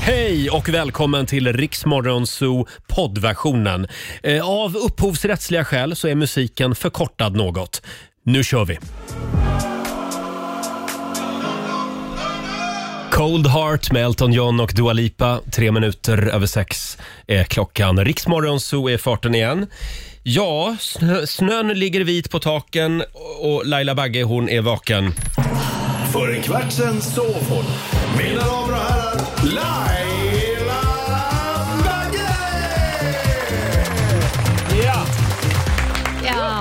Hej och välkommen till Riksmorgon Zoo poddversionen. Eh, Av upphovsrättsliga skäl så är musiken förkortad något. Nu kör vi! Cold Heart med Elton John och Dua Lipa. Tre minuter över sex är klockan. Riksmorgon Zoo är farten igen. Ja, snö, snön ligger vit på taken och Laila Bagge hon är vaken. För en kvart sen sov hon. Mina damer och herrar, Laila Bagge! Ja! Ja,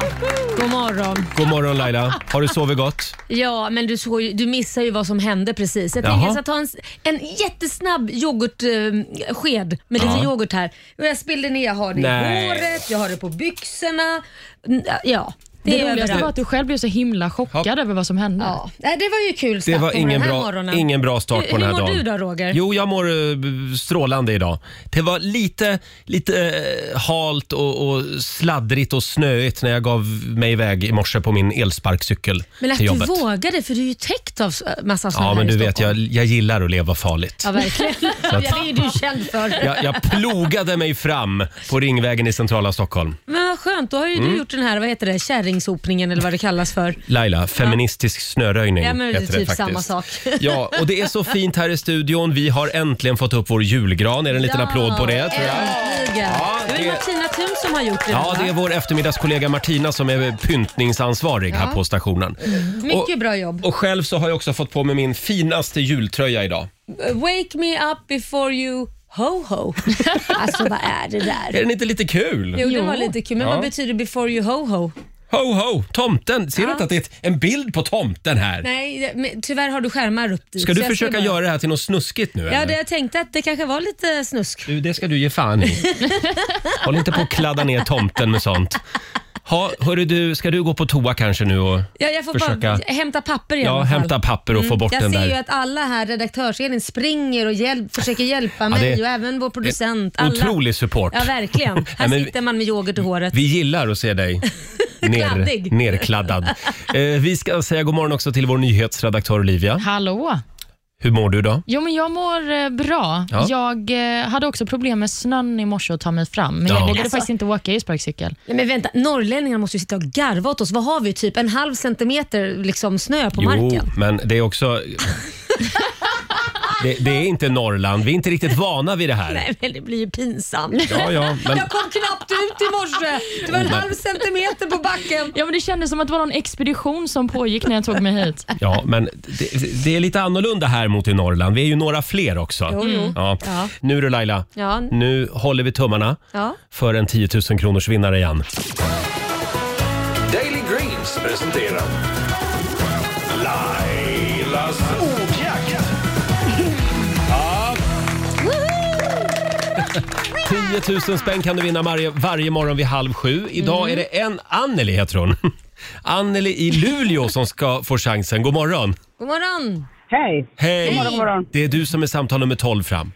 god morgon. God morgon Laila, har du sovit gott? Ja, men du, såg, ju- du missar ju vad som hände precis. Jag Jaha. tänker jag ska ta en, s- en jättesnabb yoghurtsked eh, sked med lite Ja. yoghurt här. Och jag spillde ner, jag har det Nej. i håret, jag har det på byxorna. N- Ja, det, Det, är roligaste överallt. var att du själv blev så himla chockad över vad som hände. Ja. Nej, det var ju kul Det start var på ingen den här bra, morgonen. ingen bra start Hur- på den här dagen. Hur mår du då Roger? Jo, jag mår eh, strålande idag. Det var lite, lite eh, halt och, och sladdrigt och snöigt när jag gav mig iväg i morse på min elsparkcykel Men att till du jobbet. vågade för du är ju täckt av s- massa snö Ja, här men i du vet, Stockholm. jag, jag gillar att leva farligt. Ja, verkligen. ja, det är ju du känd för. Jag, jag plogade mig fram på Ringvägen i centrala Stockholm. Men vad skönt, då har ju Mm. du gjort den här vad heter det, kärringsopningen eller vad det kallas för. Laila, feministisk snöröjning Ja, men det är heter typ faktiskt. samma sak. Ja, och det är så fint här i studion. Vi har äntligen fått upp vår julgran. Är det en liten applåd på det? Tror jag. Äntligen! det är väl Martina Thun som har gjort det? Ja, det är vår eftermiddagskollega Martina som är pyntningsansvarig här Ja. på stationen. Mycket bra jobb. Och själv så har jag också fått på mig min finaste jultröja idag. Wake me up before you ho-ho. alltså vad är det Är där? den inte lite kul? Jo, det var lite kul. Men Ja. vad betyder before you ho-ho? Ho, ho! Tomten! Ser du inte att det är ett- en bild på tomten här? Nej, det- men, tyvärr har du skärmar upp dit. Ska så du jag försöka ser bara- göra det här till något snuskigt nu Ja, eller? det, jag tänkte att det kanske var lite snusk. Du, det ska du ge fan i. Håll inte på att kladda ner tomten med sånt. Ha, hörru du, ska du gå på toa kanske nu och Ja, jag får försöka... bara hämta papper i Ja, alla fall. Mm, hämta papper och få bort jag den där. ser ju att alla här, redaktörsledningen, springer och hjälp, försöker hjälpa mig det är- och även vår producent. en Alla. otrolig support. Ja, verkligen. Här men- sitter man med yoghurt i håret. Vi gillar att se dig ner, Kladdig. nerkladdad. Eh, vi ska säga god morgon också till vår nyhetsredaktör Olivia. Hallå! Hur mår du idag? Jo, men jag mår eh, bra. Ja. Jag eh, hade också problem med snön i morse och ta mig fram, men jag Ja. vågade Alltså. faktiskt inte åka i sparkcykel. Nej, men vänta, norrlänningarna måste ju sitta och garva åt oss. Vad har vi? Typ en halv centimeter liksom snö på marken. men det är också... Det, det är inte Norrland. Vi är inte riktigt vana vid det här. Nej, men det blir ju pinsamt. Ja, ja, men- Jag kom knappt ut i morse. Det var en Men- halv centimeter på backen. Ja, men det kändes som att det var någon expedition som pågick när jag tog mig hit. Ja, men det, det är lite annorlunda här mot i Norrland. Vi är ju några fler också. Jo, jo. Ja. Ja. Nu du Laila, Ja. nu håller vi tummarna Ja. för en 10 000 kronors vinnare igen. Daily Greens presenterar Lailas ordjakt. 10 000 spänn kan du vinna varje, varje morgon vid halv sju. Idag är det en Anneli, heter hon. Anneli i Luleå som ska få chansen. God morgon! God morgon. Hej! Hej! God morgon, god morgon. Det är du som är samtal nummer 12 fram.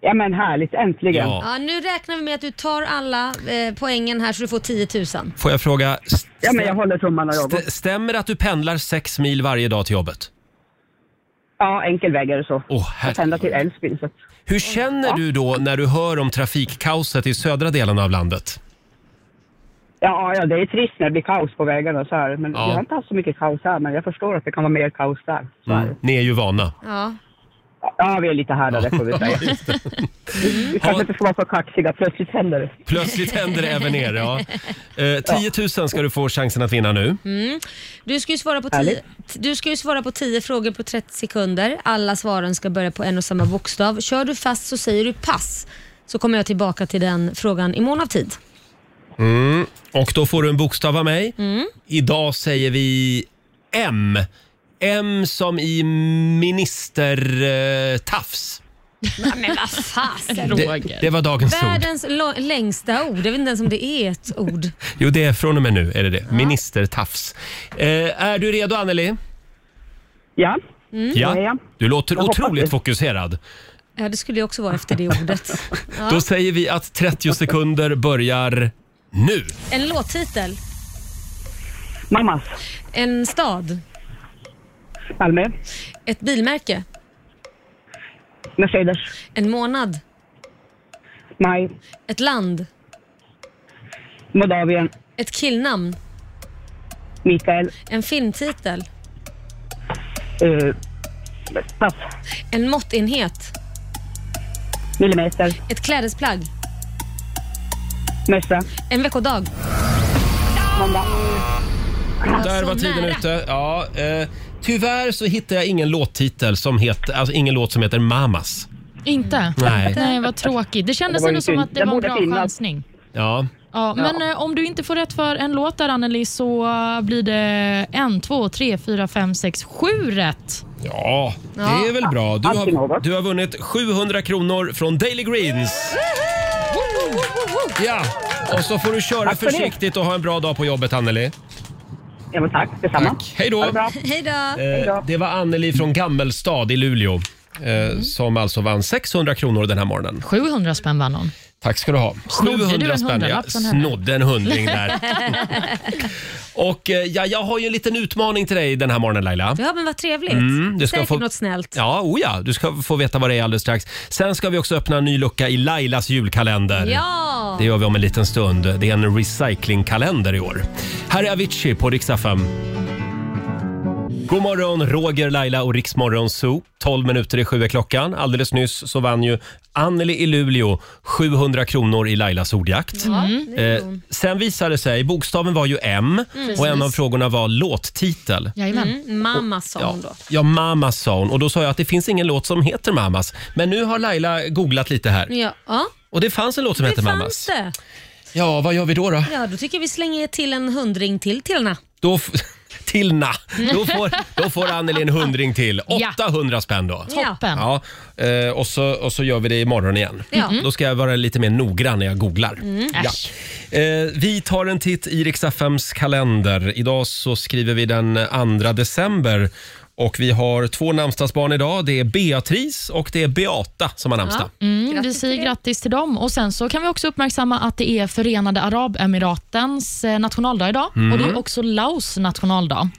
Ja men härligt, äntligen. Ja. Ja, nu räknar vi med att du tar alla eh, poängen här så du får 10 000. Får jag fråga, st- Ja men jag håller tummarna jag. st- stämmer det att du pendlar sex mil varje dag till jobbet? Ja, enkel väg är det så. Åh, jag herregud. pendlar till Älvsbyn. Så. att- Hur känner du då när du hör om trafikkaoset i södra delen av landet? Ja, ja, det är trist när det blir kaos på vägarna så här. Men Ja. vi har inte haft så mycket kaos här, men jag förstår att det kan vara mer kaos där. Så här. Mm. Ni är ju vana. Ja. Ja, vi är lite härdade får vi säga. Vi Ha- kanske inte ska vara så kaxiga, plötsligt händer det. Plötsligt händer det även er. Ja. Eh, 10 000 ska du få chansen att vinna nu. Du ska, ju svara på Härligt. tio, du ska ju svara på 10 frågor på 30 sekunder. Alla svaren ska börja på en och samma bokstav. Kör du fast så säger du pass. Så kommer jag tillbaka till den frågan i mån av tid. Och då får du en bokstav av mig. Idag säger vi M. M som i ministertafs. Eh, tafs. Men vad fasen. det, Roger. det var dagens ord. Världens lo- längsta ord. Jag vet inte ens om det är ett ord. Jo, det är från och med nu är det det. Ministertafs. Eh, är du redo Anneli? Ja, Ja. det är jag. Du låter hoppas otroligt det. fokuserad. Ja, det skulle ju också vara efter det ordet. Då säger vi att 30 sekunder börjar nu. En låttitel. Mammas, En stad. Malmö, Ett bilmärke. Mercedes. En månad. Maj. Ett land. Moldavien. Ett killnamn. Mikael. En filmtitel. Eh, pass. En måttenhet. Millimeter. Ett klädesplagg. Mössa. En veckodag. Måndag. Alltså, Där var tiden ute. Ja, eh, tyvärr så hittar jag ingen låttitel som heter, alltså ingen låt som heter Mamas. Inte? Nej. Nej, vad tråkigt. Det kändes Det var ju ändå som synd. att det Den var en borde bra finnas. chansning. Ja, Ja, men eh, om du inte får rätt för en låt där, Anneli, så eh, blir det en, två, tre, fyra, fem, sex, sju rätt. ja det är väl bra. Du Alltid har, något. du har vunnit 700 kronor från Daily Greens. Ja, och så får du köra Tack för det. försiktigt och ha en bra dag på jobbet, Anneli. Ja, men tack detsamma. Tack. Hej då. Ha det bra. Hej då. Eh, det var Anneli från Gammelstad i Luleå. Eh, som alltså vann 600 kronor den här morgonen. 700 spänn vann hon. Tack ska du ha. Snodde du en 700 spänn. Jag hundralapp från henne? snodde en hundring där. Och eh, ja, jag har ju en liten utmaning till dig den här morgonen Laila. Ja, men vad trevligt. Mm, du ska Säkert få- något snällt. Ja, oh ja, du ska få veta vad det är alldeles strax. Sen ska vi också öppna en ny lucka i Lailas julkalender. Ja. Det gör vi om en liten stund. Det är en recyclingkalender i år. Här är Avicii på Rix FM. God morgon, Roger, Laila och Riksmorgon Zoo. 12 minuter i sju är klockan. Alldeles nyss så vann ju Anneli i Luleå 700 kronor i Lailas ordjakt. Eh, sen visade det sig, bokstaven var ju M och en av frågorna var låttitel. Jajamän. Mamma sa Ja, hon då. ja Mamas sa hon. Och då sa jag att det finns ingen låt som heter Mamas. Men nu har Laila googlat lite här Ja, ja. och det fanns en låt som det heter fanns Mamas. det. Ja, vad gör vi då då? Ja, då tycker jag vi slänger till en hundring till till henne. då f- till na. Då får, då får Anneli en hundring till. Ja. 800 spänn då. Ja. Toppen. Ja, eh, och, så, och så gör vi det imorgon igen. Ja. Då ska jag vara lite mer noggrann när jag googlar. Mm. Ja. Mm-hmm. Äsch. Eh, vi tar en titt i Riksaffems kalender. Idag så skriver vi den 2 december. Och Vi har två namnsdagsbarn idag. Det är Beatrice och det är Beata som har namnsdag. Mm, vi Grattis till säger det. grattis till dem. Och Sen så kan vi också uppmärksamma att det är Förenade Arabemiratens eh, nationaldag idag Mm. och det är också Laos nationaldag.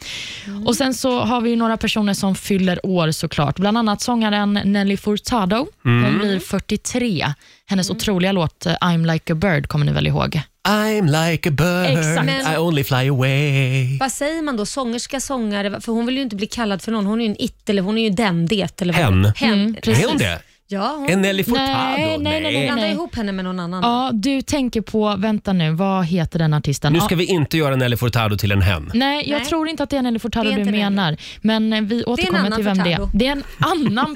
Mm. Och Sen så har vi ju några personer som fyller år såklart. Bland annat sångaren Nelly Furtado. Mm. Hon blir 43. Hennes Mm. otroliga låt eh, I'm like a bird kommer ni väl ihåg? I'm like a bird, Exakt. I only fly away. Vad säger man då? Sångerska, sångare? För hon vill ju inte bli kallad för någon. Hon är ju en it eller hon är ju den, det eller vad Hen. Mm. Hen. Är precis. hon det? Ja, hon En Nelly Furtado? nej, nej, nej. blandar ihop henne med någon annan. Ja, Du tänker på, vänta nu, vad heter den artisten? Nu Ja, ska vi inte göra Nelly Furtado till en hen. Nej, jag Nej. tror inte att det är Nelly Furtado Det är du inte Nelly. menar. Men eh, vi återkommer annan till vem det är. Furtado. Det är en annan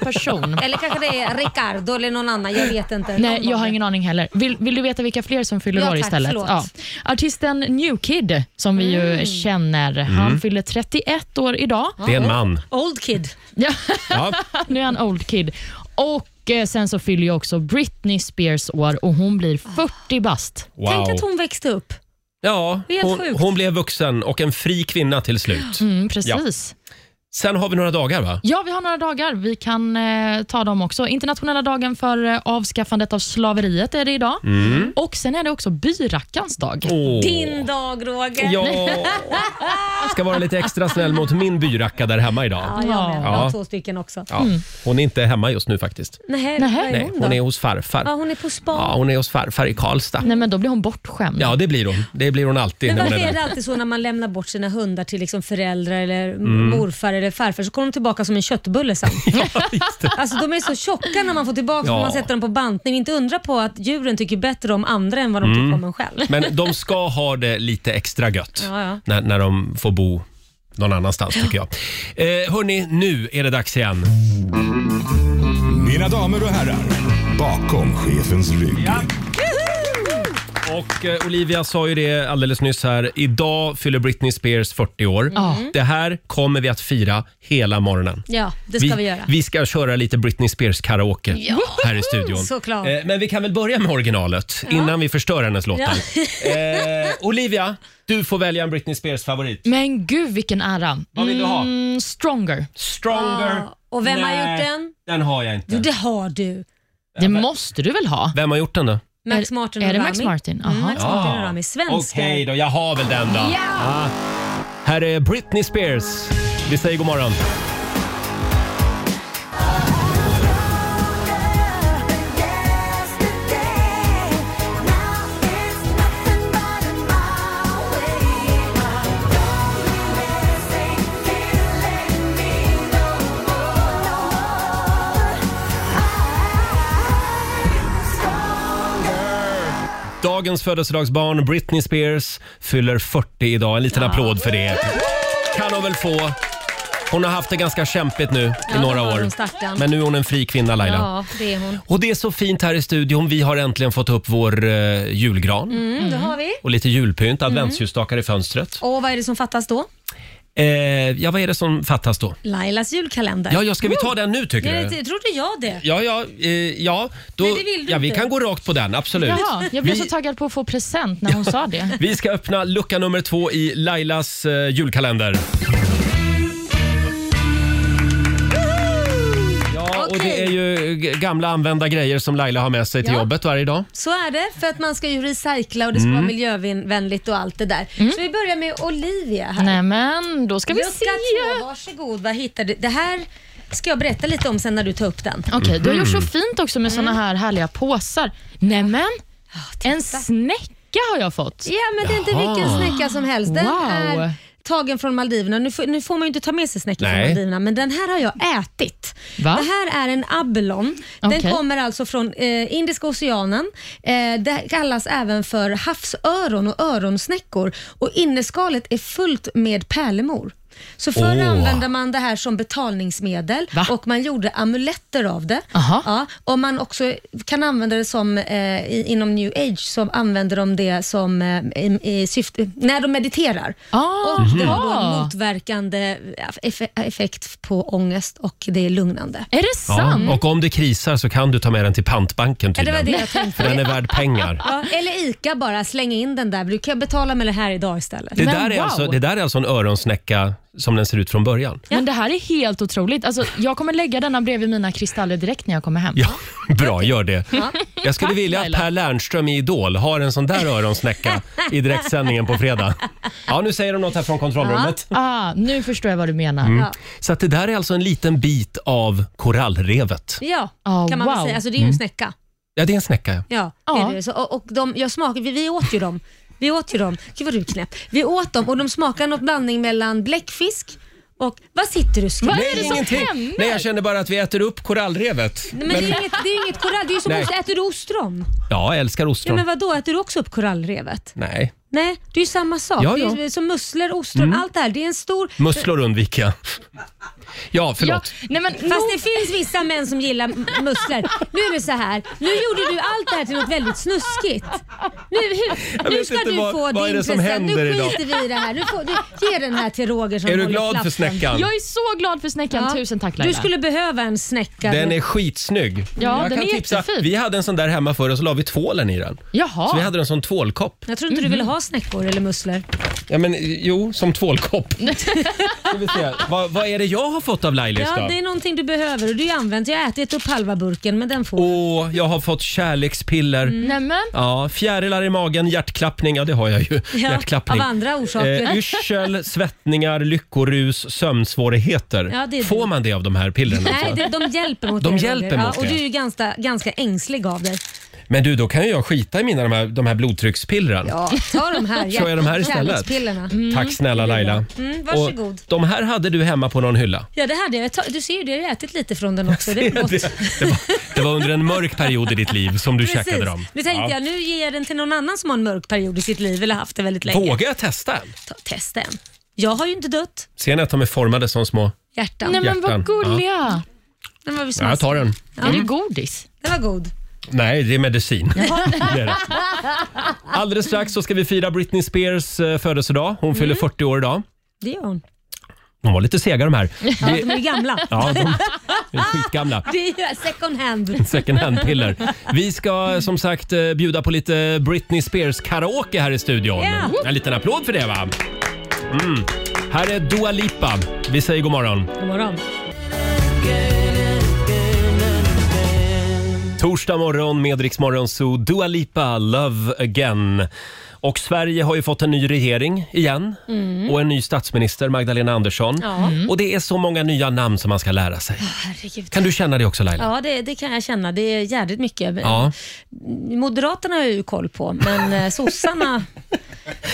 person. Eller kanske det är Ricardo eller någon annan. Jag vet inte. Nej, Någon jag av har dem. ingen aning heller. Vill, vill du veta vilka fler som fyller Ja, år tack, istället? förlåt. Mm. Artisten Newkid, som vi ju känner, han fyller 31 år idag. Det är en man. Old Kid. Ja. Ja. nu är han old kid. Och eh, sen så fyller ju också Britney Spears år och hon blir Ah. 40 bast. Wow. Tänk att hon växte upp. ja, Det är helt hon, sjukt. hon blev vuxen och en fri kvinna till slut. Mm, precis. Ja. Sen har vi några dagar va? vi har några dagar. Vi kan eh, ta dem också. Internationella dagen för eh, avskaffandet av slaveriet är det idag. Och sen är det också byrackarns dag. Åh. Din dag Roger. Ja. Jag ska vara lite extra snäll mot min byracka där hemma idag. Ja, jag, med. jag Ja. har två stycken också. Ja. Hon är inte hemma just nu faktiskt. Nej, Nähä. vad är Nej, hon då? hon är hos Ja, farfar. hon är på spa. Ja, hon är hos farfar i Karlstad. Nej, men då blir hon bortskämd. Ja, det blir hon. Det blir hon alltid Men när hon varför är är där. det alltid så när man lämnar bort sina hundar till liksom föräldrar eller m- Mm. morfar eller farfar så kommer de tillbaka som en köttbulle sen? alltså de är så tjocka när man får tillbaka Ja. dem, man sätter dem på bantning. Inte undra på att djuren tycker bättre om andra än vad de tycker om en själv. Mm. Men de ska ha det lite extra gött Ja, ja. När, när de får bo någon annanstans tycker jag. Eh, hörni, nu är det dags igen. Mina damer och herrar, bakom chefens rygg. Och eh, Olivia sa ju det alldeles nyss här. Idag fyller Britney Spears 40 år. Det här kommer vi att fira hela morgonen. Ja, det ska vi, göra. Vi ska köra lite Britney Spears karaoke här i studion. Såklart. Eh, Men vi kan väl börja med originalet innan vi förstör hennes låtar. Eh, Olivia, du får välja en Britney Spears favorit. Men gud vilken ära. Vad vill du ha? Mm, stronger. Stronger. Ah, och vem har Nej, gjort den? Den har jag inte. Jo, det har du. Det måste du väl ha? Vem har gjort den då? Max Martin och är det Rami. Max Martin? Mm, Aha. Max Martin och Rami. Svenskar. Ah, Okej då, jag har väl den då. Ah. Här är Britney Spears. Vi säger god morgon. Dagens födelsedagsbarn Britney Spears fyller 40 idag. En liten applåd för det. Kan hon väl få. Hon har haft det ganska kämpigt nu i Ja, det några har år. hon, stackarn. Men nu är hon en fri kvinna Laila. Ja, det är hon. Mm, Och det är så fint här i studion. Vi har äntligen fått upp vår eh, julgran Det Mm, har vi. och lite julpynt, Mm. adventsljusstakar i fönstret. Och vad är det som fattas då? Eh, ja, vad är det som fattas då? Lailas julkalender. Ja, ja, ska vi ta den nu tycker Nej, du? det trodde jag det. Ja, ja, eh, ja, då, Men det vill du ja vi inte. kan gå rakt på den, absolut. Jaha, jag blev Vi- så taggad på att få present när hon sa det. Vi ska öppna lucka nummer två i Lailas eh, julkalender. Ja, och det Okej. är ju g- gamla använda grejer som Laila har med sig till Ja. jobbet varje dag. Så är det, för att man ska ju recycla och det ska vara Mm. miljövänligt och allt det där. Så vi börjar med Olivia här. Nej men då ska vi Lucka se. två, varsågod. Vad hittar du? Det här ska jag berätta lite om sen när du tar upp den. Okej, du har gjort Mm. så fint också med Mm. såna här härliga påsar. Nämen, en snäcka har jag fått. Ja, men det är inte Jaha. vilken snäcka som helst. Den Wow. är tagen från Maldiverna. Nu får, nu får man ju inte ta med sig snäcka från Nej. Maldiverna, men den här har jag ätit. Va? Det här är en abalon. Den Okej. kommer alltså från eh, Indiska oceanen. Eh, det kallas även för havsöron och öronsnäckor och innerskalet är fullt med pärlemor. Så förr Åh. använde man det här som betalningsmedel Va? och man gjorde amuletter av det. Aha. Ja, och man också kan använda det som eh, i- inom new age, så använder de det som eh, i, i syfte, när de mediterar. Ah, Och Mhm. det har då en ja. motverkande eff- effekt på ångest och det är lugnande. Är det sant? Och om det krisar så kan du ta med den till pantbanken Ja, det var tydligen. det jag tänkte. För den är värd pengar. Ja, eller ICA bara, släng in den där. Du kan betala med det här idag istället. Det Men där, är wow. alltså, det där är alltså en öronsnäcka som den ser ut från början. Men det här är helt otroligt. Alltså, jag kommer lägga denna bredvid mina kristaller direkt när jag kommer hem. Ja, bra, gör det. Jag skulle Tack, vilja att Laila. Per Lernström i Idol har en sån där öronsnäcka i direktsändningen på fredag. Ja, nu säger de något här från kontrollrummet. Ah, nu förstår jag vad du menar. Mm, Så att det där är alltså en liten bit av korallrevet. Ja, Ah, kan man väl wow. säga. Alltså, det är ju en snäcka. Ja, det är en snäcka. ja. Ja, det Ja. är det. Så, och, och de, jag smakar, vi, vi åt ju dem. Vi åt ju dem. Gud vad du är knäpp. Vi åt dem och de smakar något blandning mellan bläckfisk och... Vad sitter du Vad skrek? är det som händer? Nej, jag känner bara att vi äter upp korallrevet. Men, men det är inget, det är inget korall. Det är ju som Nej. ost. Äter du ostron? Ja, jag älskar Ja, ostron. men vadå, äter du också upp korallrevet? Nej, Nej, det är ju samma sak. Ja, ja. Mm. Det är ju som musslor, ostron, allt det här. Det är en stor... musslor undviker jag. Ja, Ja, förlåt. nej men, Fast nog- det finns vissa män som gillar m- musslor. Nu är det så här. Nu gjorde du allt det här till något väldigt snuskigt. Nu, hur, nu vet ska inte du vad- få vad är din det som present. Nu händer idag? skiter vi i det här. Nu får, du, ge den här till Roger som Är du håller glad för klaffen. snäckan? jag är så glad för snäckan. Ja. Tusen tack Du Laila. skulle behöva en snäcka. Den är skitsnygg. Ja, jag den kan är tipsa. jättefin. Vi hade en sån där hemma förr och så la vi tvålen i den. Jaha. Så vi hade en sån tvålkopp. Jag tror inte du vill Mm. ha snäckor eller musslor. Ja, men, jo, som tvålkopp. Ska vi se. Vad, vad är det jag har fått av Lailis Ja, då? det är någonting du behöver och du har använt. Jag har ätit upp halva burken men den får Åh, jag har fått kärlekspiller. Mm. Nämen, Ja, fjärilar i magen, hjärtklappning, ja det har jag ju. Ja, hjärtklappning. av andra orsaker. Eh, yrsel, svettningar, lyckorus, sömnsvårigheter. Ja, det är Får du. man det av de här pillerna? alltså? Nej, det, de hjälper mot De det. hjälper Roger. mot ja, Och det. du är ju ganska, ganska ängslig av dig. Men du, då kan ju jag skita i mina de här, de här blodtryckspillren. Ja, ta de här Kör jag de här istället? kärlekspillerna. Tack snälla Laila. Mm, varsågod. Och de här hade du hemma på någon hylla. Ja, det hade jag. jag. tar- Du ser ju, det, jag har ätit lite från den också. Det är gott. Det, det, var, det var under en mörk period i ditt liv som du käkade dem. Nu tänkte jag, nu ger jag den till någon annan som har en mörk period i sitt liv eller haft det väldigt länge. Vågar jag testa en? Ta, testa en. Jag har ju inte dött. Ser ni att de är formade som små... Hjärtan. nej, men Hjärtan. vad gulliga. Den var väl Ja, jag smaskig. tar den. Är det godis? Den var god. Nej, det är medicin. Det är det. Alldeles strax så ska vi fira Britney Spears eh, födelsedag. Hon fyller Mm. 40 år idag. Det gör hon. De var lite sega de här. Ja, de är gamla. Ja, de de är skitgamla. Det är ju second hand. Second hand-piller. Vi ska eh, som sagt eh, bjuda på lite Britney Spears-karaoke här i studion. Ja. En liten applåd för det va? Mm. Här är Dua Lipa. Vi säger god morgon. God morgon. Torsdag morgon med Rix Morgon Zoo, Dua Lipa, Love Again. Och Sverige har ju fått en ny regering igen och en ny statsminister, Magdalena Andersson. Mm. Ja. Mm. Och det är så många nya namn som man ska lära sig. Herregud. Kan du känna det också Laila? Ja, det, det kan jag känna. Det är jädrigt mycket. Ja. Moderaterna har jag ju koll på, men eh, sossarna...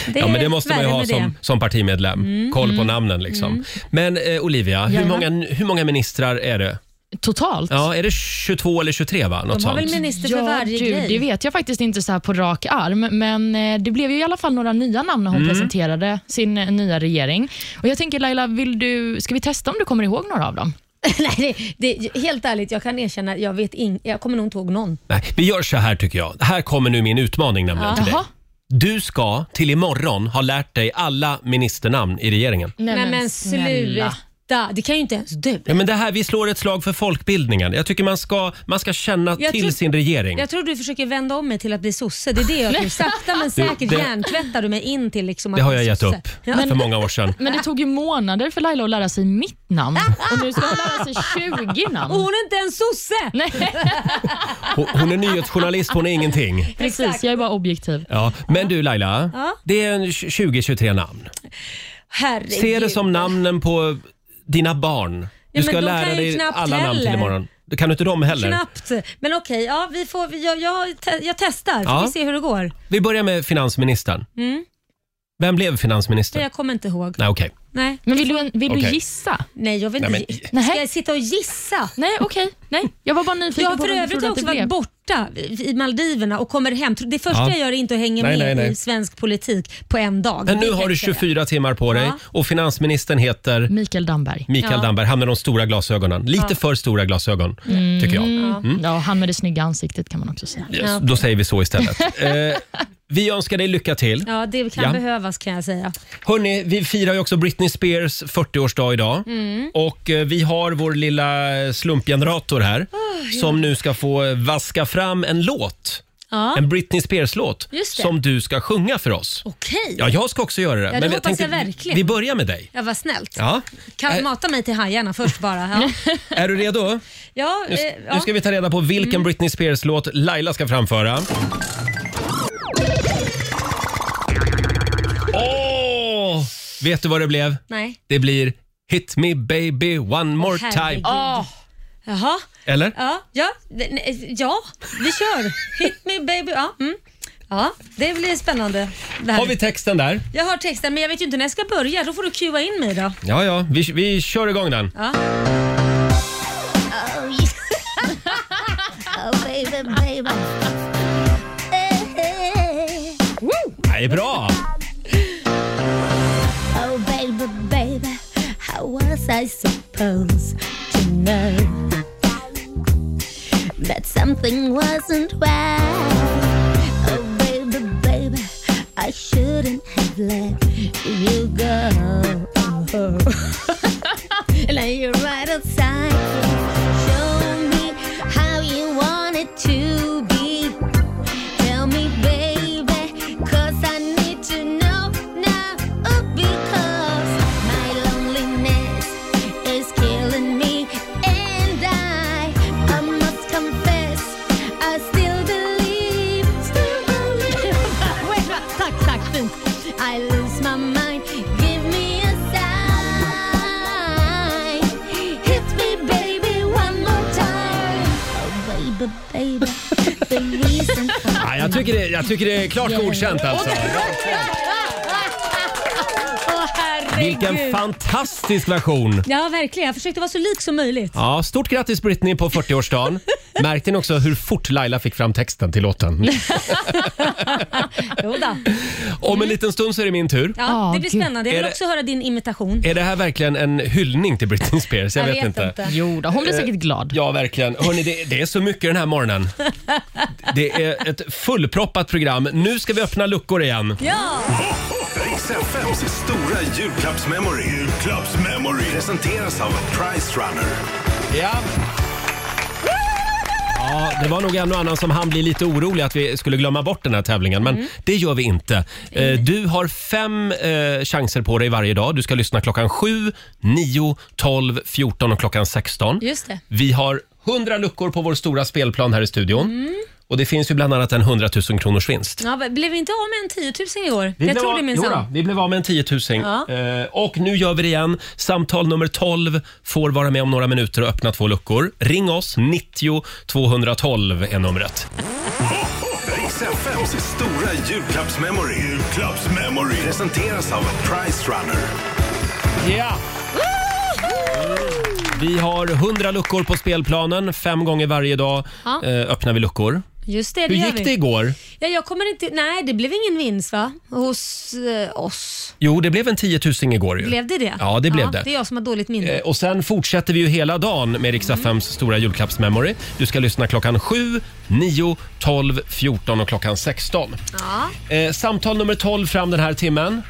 Det Ja, är men det måste man ju värre ha med Mm. som, som partimedlem. Koll på namnen liksom. Men eh, Olivia, hur Jajamän. många, hur många ministrar är det? Totalt? Ja, är det 22 eller 23 va? Något De har sånt. väl minister för varje du, grej? Det vet jag faktiskt inte så här på rak arm, men eh, det blev ju i alla fall några nya namn när Mm. hon presenterade sin eh, nya regering. Och jag tänker Laila, vill du, ska vi testa om du kommer ihåg några av dem? Nej, det, det, helt ärligt, jag kan erkänna, jag, vet in, jag kommer nog inte ihåg någon. Nej, vi gör så här tycker jag. Här kommer nu min utmaning nämligen till dig. Jaha. Du ska till imorgon ha lärt dig alla ministernamn i regeringen. Nej, men sluta. Det kan ju inte ens du. Ja, men det här, vi slår ett slag för folkbildningen. Jag tycker man ska, man ska känna Jag till tror- sin regering. Jag tror du försöker vända om mig till att bli sosse. Det är det jag tror. Sakta men Du, säkert det- hjärntvättar du mig in till liksom att Det har jag bli gett sosse. upp Ja. för många år sedan. Men det tog ju månader för Laila att lära sig mitt namn och nu ska hon lära sig 20 Och namn. hon är inte ens sosse! Nej, Hon, hon är nyhetsjournalist, hon är ingenting. precis. Jag är bara objektiv. Ja. Men du Laila, Ja. det är en 20-23 namn. Herregud. Se det som namnen på dina barn. Du men ska de lära kan ju dig knappt alla namn till heller. imorgon. Du kan inte dem heller. Knappt. Men okej, ja, vi får, vi- jag, jag, te- jag testar. Får Ja. vi se hur det går. Vi börjar med finansministern. Mm. Vem blev finansminister? För jag kommer inte ihåg. Nej, okej. Nej, Men vill du, vill du Okej. gissa? nej jag vill Nej, inte. men- Nej. Ska jag sitta och gissa? Nej, okej. Nej, jag var bara nyfiken Jag har på för vem du övrigt trodde att det också varit blev. borta i Maldiverna och kommer hem. Det första Ja. jag gör är inte att hänga Nej, med nej, nej. i svensk politik på en dag. Men Det nu kan har du jag säga. 24 timmar på dig Ja. och finansministern heter Mikael Damberg. Mikael Ja. Damberg. Han med de stora glasögonen. Lite för stora glasögon, tycker jag. Mm. Ja, han med det snygga ansiktet kan man också säga. Yes, Då säger vi så istället. eh, vi önskar dig lycka till. Ja, det kan Ja. behövas kan jag säga. Hörni, vi firar ju också Britney Spears 40-årsdag idag. Mm. Och eh, vi har vår lilla slumpgenerator här Ah, som nu ska få vaska fram en låt. Ja. En Britney Spears-låt Just det. som du ska sjunga för oss. Okej. Ja, jag ska också göra det. det vi- hoppas jag vi- verkligen. Vi börjar med dig. Ja, vad snällt. Ja. Eh. Kan Ä- mata mig till hajarna först bara. Ja. Är du redo? Ja, Mm. Nu, eh, ja. nu ska vi ta reda på vilken Britney Spears-låt Laila ska framföra. Åh! Vet du vad det blev? Nej. Det blir Hit me baby one more time. herregud. Ah. Åh, Jaha. Eller? Ja, ja, det- nej, ja, vi kör. Hit me baby. Ja, mm. ja det blir spännande. Det här. Har vi texten där? Jag har texten men jag vet ju inte när jag ska börja. Då får du cuea in mig då. Ja, ja. Vi, vi kör igång den. Oh, yeah. oh baby, baby. Eh, eh. Nej, bra! Oh, baby, baby. How was I supposed to know that something wasn't right? Oh, baby, baby. I shouldn't have let you go. now you're right outside. Show me how you want it to be. Tell me, baby, cause I need to know now. Oh, because my loneliness is killing me, and I, I must confess, I still believe, still believe. Wait, wait, tack, tack, fint. I lose my mind. Give me a sign. Hit me, baby, one more time. Oh, baby, baby, the reason for Ja, jag, tycker det, jag tycker det är klart godkänt alltså. Åh herregud. Vilken fantastisk version! Ja, verkligen. Jag försökte vara så lik som möjligt. Ja, stort grattis Britney på 40-årsdagen. Märkte ni också hur fort Laila fick fram texten till låten? Jo då. Om en liten stund så är det min tur. Ja, Ah, det blir gud. spännande. Jag Är vill det- också höra din imitation. Är det här verkligen en hyllning till Britney Spears? Jag, vet, inte. Jo då, hon blir säkert glad. Eh, Ja, verkligen. Hörrni, det, det är så mycket den här morgonen. Det är ett fullproppat program. Nu ska vi öppna luckor igen. Ja, Riks FMs stora julklappsmemory. Julklappsmemory. Presenteras av Price Runner. Ja. Ja, det var nog en och annan som han blir lite orolig att vi skulle glömma bort den här tävlingen, men Mm. det gör vi inte. Eh, Du har fem eh, chanser på dig varje dag. Du ska lyssna klockan 7, 9, 12, 14 och klockan 16. just det. Vi har 100 luckor på vår stora spelplan här i studion. Och det finns ju bland annat en 100 000 kronors vinst. Ja, men blev vi inte av med en 10 000 igår? jag tror det minsann. vi blev av med en 10 000. Ja. Eh, och nu gör vi det igen. Samtal nummer 12 får vara med om några minuter och öppna två luckor. Ring oss, 90 212 är numret. Riks FMs stora julklappsmemory. Julklappsmemory. Presenteras av Price Runner. Ja! Vi har 100 luckor på spelplanen. Fem gånger varje dag Ja. eh, öppnar vi luckor. Just det, det Hur gör gick vi. det igår? Ja, jag kommer inte... Nej, det blev ingen vinst va? Hos eh, oss. Jo, det blev en 10 000 igår ju. Blev det det? Ja, det blev det. Det är jag som har dåligt minne. Eh, Och sen fortsätter vi ju hela dagen med Rix Mm. FMs stora julklappsmemory. Du ska lyssna klockan 7, 9, 12, 14 och klockan 16. Ja. Eh, samtal nummer 12 fram den här timmen.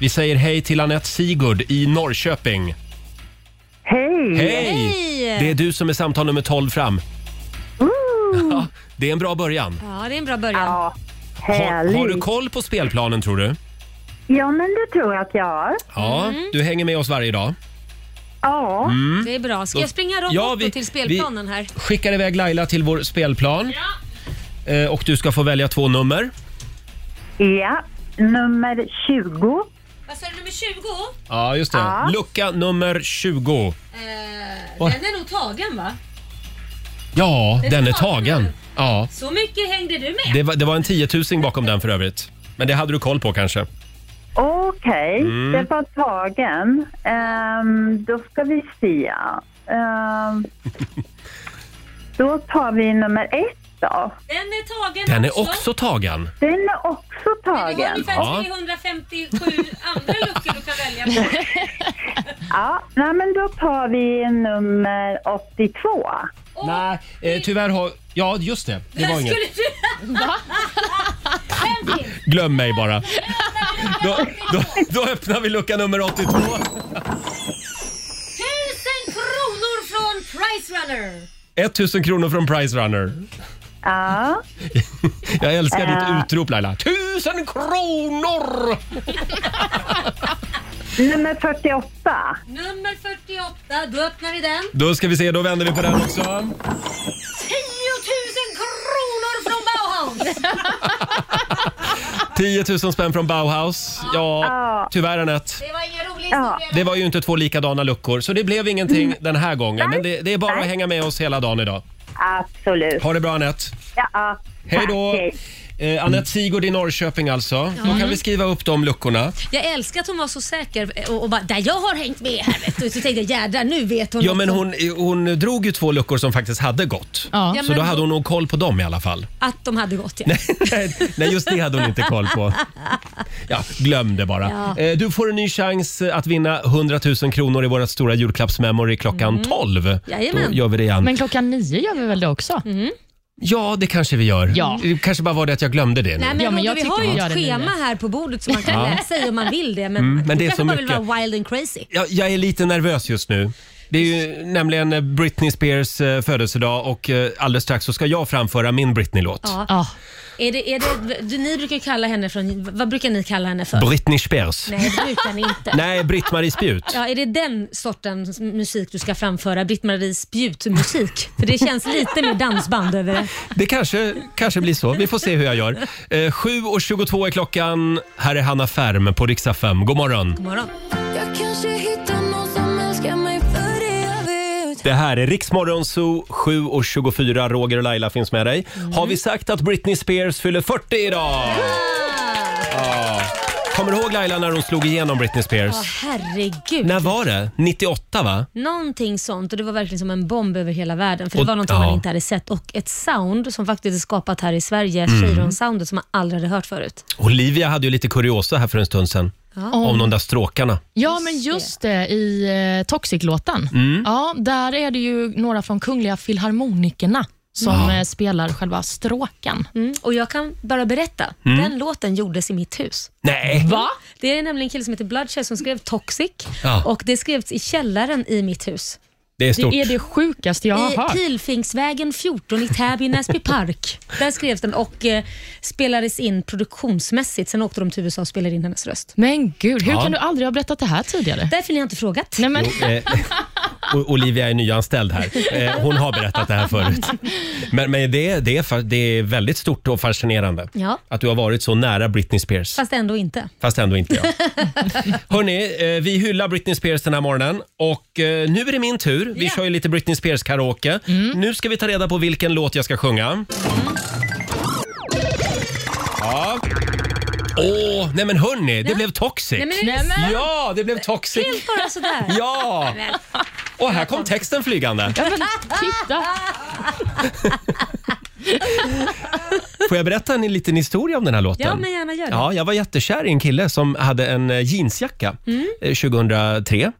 Vi säger hej till Anette Sigurd i Norrköping. Hej! Hej! Hej! Det är du som är samtal nummer 12 fram. Ja, det är en bra början. ja, det är en bra början. Ja, Har, har du härligt. koll på spelplanen tror du? Ja, men det tror jag att jag har. Ja, Mm. du hänger med oss varje dag. Ja, Det är bra. Ska jag springa rakt Ja, ja, vi- till spelplanen här? Skickar iväg Laila till vår spelplan. Eh, och du ska få välja två nummer. ja. Nummer 20. Vad sa du, nummer 20? Ja, just det. Ja. Lucka nummer 20. Oj. Eh, den är nog tagen va? Ja, är den är tagen. tagen. Ja, Så mycket hängde du med? det var, det var en tiotusing bakom den för övrigt. Men det hade du koll på kanske. Okej, det var tagen. Ehm, då ska vi se. Ehm, då tar vi nummer ett då. Den är tagen Den är också tagen. Den är också tagen. Ja. 357 andra luckor du kan välja på. Ja, nej, men då tar vi nummer 82. Nej, eh, tyvärr har... Ja, just det. Det var inget. Glöm mig bara. Då, då, då öppnar vi lucka nummer 82. Tusen kronor från Price Runner. 1000 kronor från Price Runner. Ja, Eh. Jag älskar ditt utrop Laila. 1000 kronor! nummer 48. Nummer 48, då öppnar vi den. 10 000 Då ska vi se, då vänder vi på den också. kronor från Bauhaus. 10 000 spänn från Bauhaus. Ja, tyvärr Anette. Det var ingen rolig Ja. Mm. historia. Det var ju inte två likadana luckor, så det blev ingenting den här gången. Men det, det är bara att hänga med oss hela dagen idag. Absolut. Ha det bra Anette. Ja, Hej då! tack. Eh, Anette Sigurd i Norrköping alltså. Då kan vi skriva upp de luckorna. Jag älskar att hon var så säker och, och bara, där jag har hängt med här vet du. Så tänkte jag, jädrar nu vet hon. Ja något men som- hon, hon drog ju två luckor som faktiskt hade gått. Ja. Ja, Så då men hade hon nog koll på dem i alla fall. Att de hade gått ja. Nej, just det hade hon inte koll på. Ja, glöm det bara. Ja. Eh, Du får en ny chans att vinna 100 000 kronor i vårt stora julklappsmemory klockan 12. Då Mm. Jajamän. gör vi det igen. Men klockan nio gör vi väl det också? Mm. Ja, det kanske vi gör. Ja. Det kanske bara var det att jag glömde det nu. Nej, men, Ja, men Roger, jag vi tycker har ju vi gör ett det nu. schema här på bordet som man kan läsa i om man vill det. Men, Mm, men det är kanske så man mycket. vill vara wild and crazy. Jag, jag är lite nervös just nu. Det är ju nämligen eh, Britney Spears eh, födelsedag och eh, alldeles strax så ska jag framföra min Britney-låt. Ja. Ja. Är det, är det, du- ni brukar ju kalla henne från... Vad brukar ni kalla henne för? Britney Spears. Nej, Nej, det brukar ni inte. Britt-Marie Spjut. Ja, är det den sortens musik du ska framföra? Britt-Marie Spjut-musik? För det känns lite mer dansband över det. Det kanske, kanske blir så. Vi får se hur jag gör. Eh, 7.22 är klockan. Här är Hanna Färm på Riksa 5. God morgon. God morgon. Jag kanske hittar någon som älskar mig för det jag vet Det här är Riksmorgon Zoo 7.24. Roger och Laila finns med dig. Har vi sagt att Britney Spears fyller 40 idag? Ah. Ja. Kommer du ihåg Laila när hon slog igenom Britney Spears? Ja, herregud. När var det? 98 va? Någonting sånt och det var verkligen som en bomb över hela världen. För det Och- var någonting ja. man inte hade sett och ett sound som faktiskt är skapat här i Sverige, Chiron-soundet som man aldrig hade hört förut. Olivia hade ju lite kuriosa här för en stund sedan. Om de där stråkarna. Ja, men just det, i eh, Toxic-låten. Mm. Ja, där är det ju några från Kungliga Filharmonikerna som eh, spelar själva stråken. Mm. Och jag kan bara berätta, den låten gjordes i mitt hus. Nej! Va? Det är nämligen en kille som heter Bloodshed som skrev Toxic Ja. och det skrevs i källaren i mitt hus. Det är Det stort. är det sjukaste jag har I hört. Pilfingsvägen 14 i Täby, Näsby Park. Där skrevs den och eh, spelades in produktionsmässigt. Sen åkte de till USA och spelade in hennes röst. Men gud, hur Ja. kan du aldrig ha berättat det här tidigare? Därför ni har inte frågat. Nej, men, Eh, O- Olivia är nyanställd här. Eh, Hon har berättat det här förut. Men, men det, är- det, är, fa- det är väldigt stort och fascinerande Ja. att du har varit så nära Britney Spears. Fast ändå inte. Fast ändå inte jag. Hörni, vi hyllar Britney Spears den här morgonen och eh, nu är det min tur. Vi kör ju lite Britney Spears-karaoke. Mm. Nu ska vi ta reda på vilken låt jag ska sjunga. Ja. Åh, nej men hörni, det blev Toxic. Nej, men, nej, men, Ja, det blev Toxic. Bara sådär. Ja! Och här kom texten flygande. Ja, men titta. Får jag berätta en liten historia om den här låten? Ja, men gärna gör det. Ja, jag var jättekär i en kille som hade en eh, jeansjacka Mm. eh, 2003.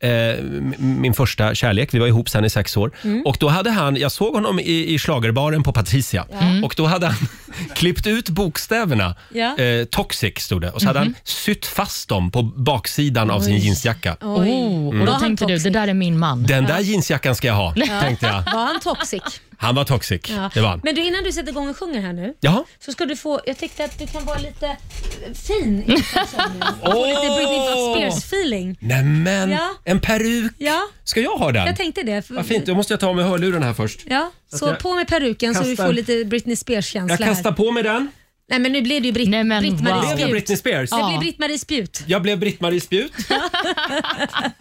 Eh, m- min första kärlek. Vi var ihop sen i sex år. Mm. Och då hade han, jag såg honom i, i schlagerbaren på Patricia och då hade han klippt ut bokstäverna. Mm. Ja. Mhm. Eh, toxic stod det. Och så hade han sytt fast dem på baksidan av sin jeansjacka. Oj. Mm. Oh, och Var då han tänkte du, det toxic? där är min man. Den där jeansjackan ska jag ha, tänkte jag. Var han toxic? Han var toxic. Det var han. Men du, innan du sätter igång och sjunger här nu, Jaha. så ska du få, jag tänkte att du kan vara lite eh, fin. i sången. Få lite Britney Spears feeling. Nämen, Ja. en peruk! Ja, Ska jag ha den? jag tänkte det. Vad fint, då måste jag ta av mig hörluren här först. Ja, så, jag på med peruken så du kastar- får lite Britney Spears-känsla Jag kastar här. på mig den. Nej men nu blir det ju Britt- Nej, men Britt-Marie wow. Blev jag Spjut. Britney Spears? Det Ja. blir Britt-Marie Spjut. Jag blev Britt-Marie Spjut.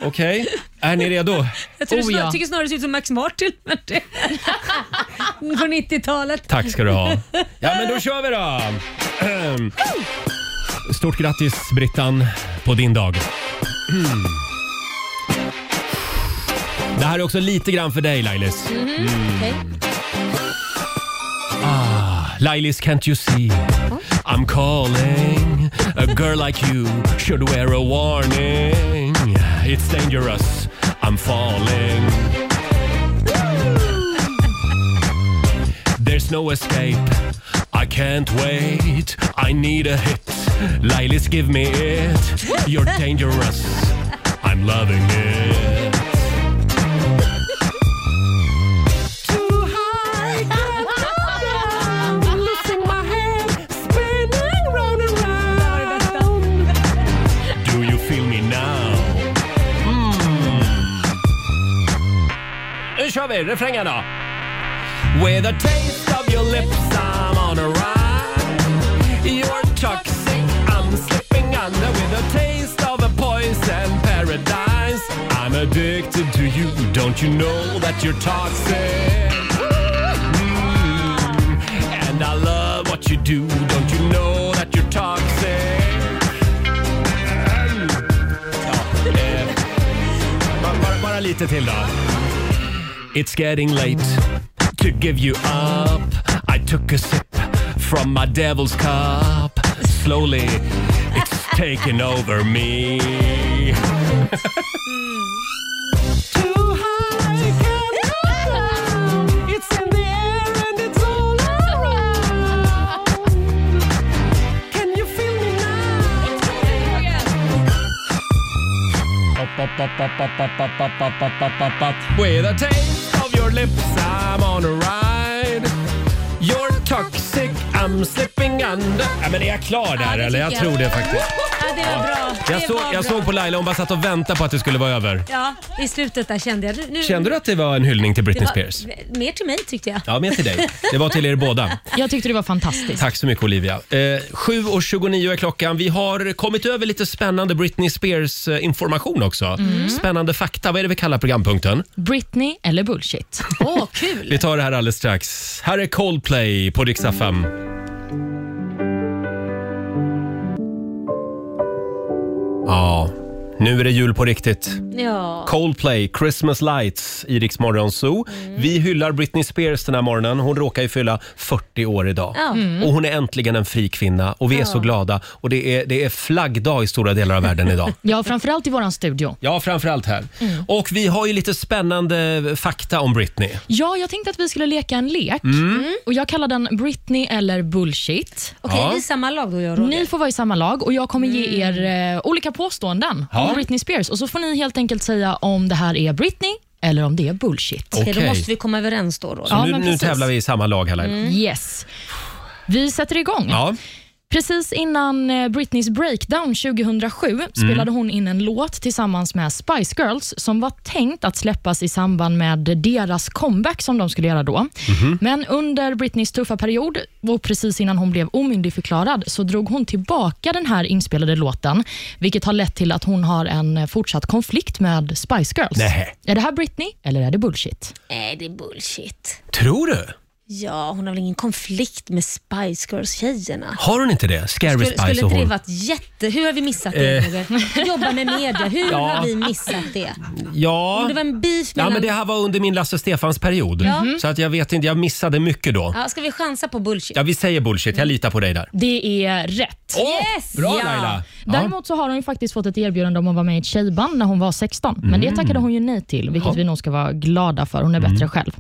Okej, är ni redo? Jag tror Oh, du snar- ja. tycker snarare det ser ut som Max Martin. Men det... Från 90-talet. Tack ska du ha. Ja, men då kör vi då! Stort grattis Brittan på din dag. Mm. Det här är också lite grann för dig Lailis. Mm. Okej. Ah, Lailis can't you see I'm calling A girl like you should wear a warning It's dangerous I'm falling There's no escape I can't wait I need a hit Lailis give me it You're dangerous I'm loving it Too high Losing my head, spinning round and round. Do you feel me now? Mm. Hmm. Nu kör vi refrängen då. With a taste of your lips I'm on a ride You're toxic, I'm slipping under With a taste of a poison paradise I'm addicted to you, don't you know that you're toxic? Mm. And I love what you do, don't you know that you're toxic? Mm. Ja, eh, bara- bara- Bara lite till då. It's getting late to give you up. I took a sip from my devil's cup. Slowly, it's taking over me. Too high, can't go down. It's in the air and it's all around. Can you feel me now? Up, up, up, up, up, up, up, up, up, up, up, up, up. With a taste of your lips, I'm on a ride. You're toxic, I'm slipping under. Ja, men är jag klar där det eller? Jag tycker tror jag. det faktiskt. Ja, det var bra. Jag, det såg, var jag bra. såg på Laila, hon bara satt och väntade på att det skulle vara över. Ja, i slutet där kände jag. Nu, Kände du att det var en hyllning till det Britney var- Spears? Mer till mig tyckte jag. Ja, mer till dig. Det var till er båda. Jag tyckte det var fantastiskt. Tack så mycket Olivia. Eh, 7.29 är klockan. Vi har kommit över lite spännande Britney Spears eh, information också. Mm. Spännande fakta. Vad är det vi kallar programpunkten? Britney eller bullshit? Åh, kul. Vi tar det här alldeles strax. Här är Coldplay på Mm. Dix FM. Ja, nu är det jul på riktigt. Ja. Coldplay, Christmas Lights i Rix Morgon Zoo. Mm. Vi hyllar Britney Spears den här morgonen. Hon råkar ju fylla 40 år idag. Ja. Mm. Och hon är äntligen en fri kvinna och vi är så glada. Och det är, det är flaggdag i stora delar av världen idag. Ja, framförallt i våran studio. Ja, framförallt här. Mm. Och vi har ju lite spännande fakta om Britney. Ja, jag tänkte att vi skulle leka en lek. Mm. Och Jag kallar den Britney eller bullshit. Okej, Ja. vi är samma lag då jag och Roger. Ni får vara i samma lag och jag kommer ge er eh, olika påståenden Ja. om Britney Spears och så får ni helt enkelt säga om det här är Britney eller om det är bullshit. Okej. Okej, då måste vi komma överens då. Roger. Ja, nu, men nu precis. tävlar vi i samma lag här Laila. Mm. Yes. Vi sätter igång. Mm. Ja. Precis innan eh, Britneys breakdown 2007 spelade hon in en låt tillsammans med Spice Girls som var tänkt att släppas i samband med deras comeback som de skulle göra då. Men under Britneys tuffa period och precis innan hon blev omyndigförklarad så drog hon tillbaka den här inspelade låten, vilket har lett till att hon har en eh, fortsatt konflikt med Spice Girls. Nähä. Är det här Britney eller är det bullshit? Nej, det är bullshit. Tror du? Ja, hon har väl ingen konflikt med Spice Girls-tjejerna? Har hon inte det? Scary Skulle, skulle Spice och inte det hon. varit jätte... Hur har vi missat det Eh. Roger? Du jobbar med media, hur Ja. har vi missat det? Ja. Det var en beef ja, mellan... men det här var under min Lasse Stefans period Så att jag vet inte, jag missade mycket då. ja, ska vi chansa på bullshit? Ja, vi säger bullshit. Jag litar på dig där. Det är rätt. Yes! Bra Ja. Laila! Ja. Däremot så har hon ju faktiskt fått ett erbjudande om att vara med i ett tjejband när hon var 16. Men Mm. det tackade hon ju nej till, vilket vi nog ska vara glada för. Hon är bättre själv.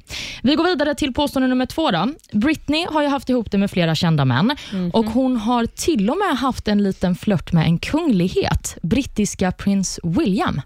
Vi går vidare till påstående nummer två. Då. Britney har ju haft ihop det med flera kända män Mhm. och hon har till och med haft en liten flört med en kunglighet, brittiska prins William.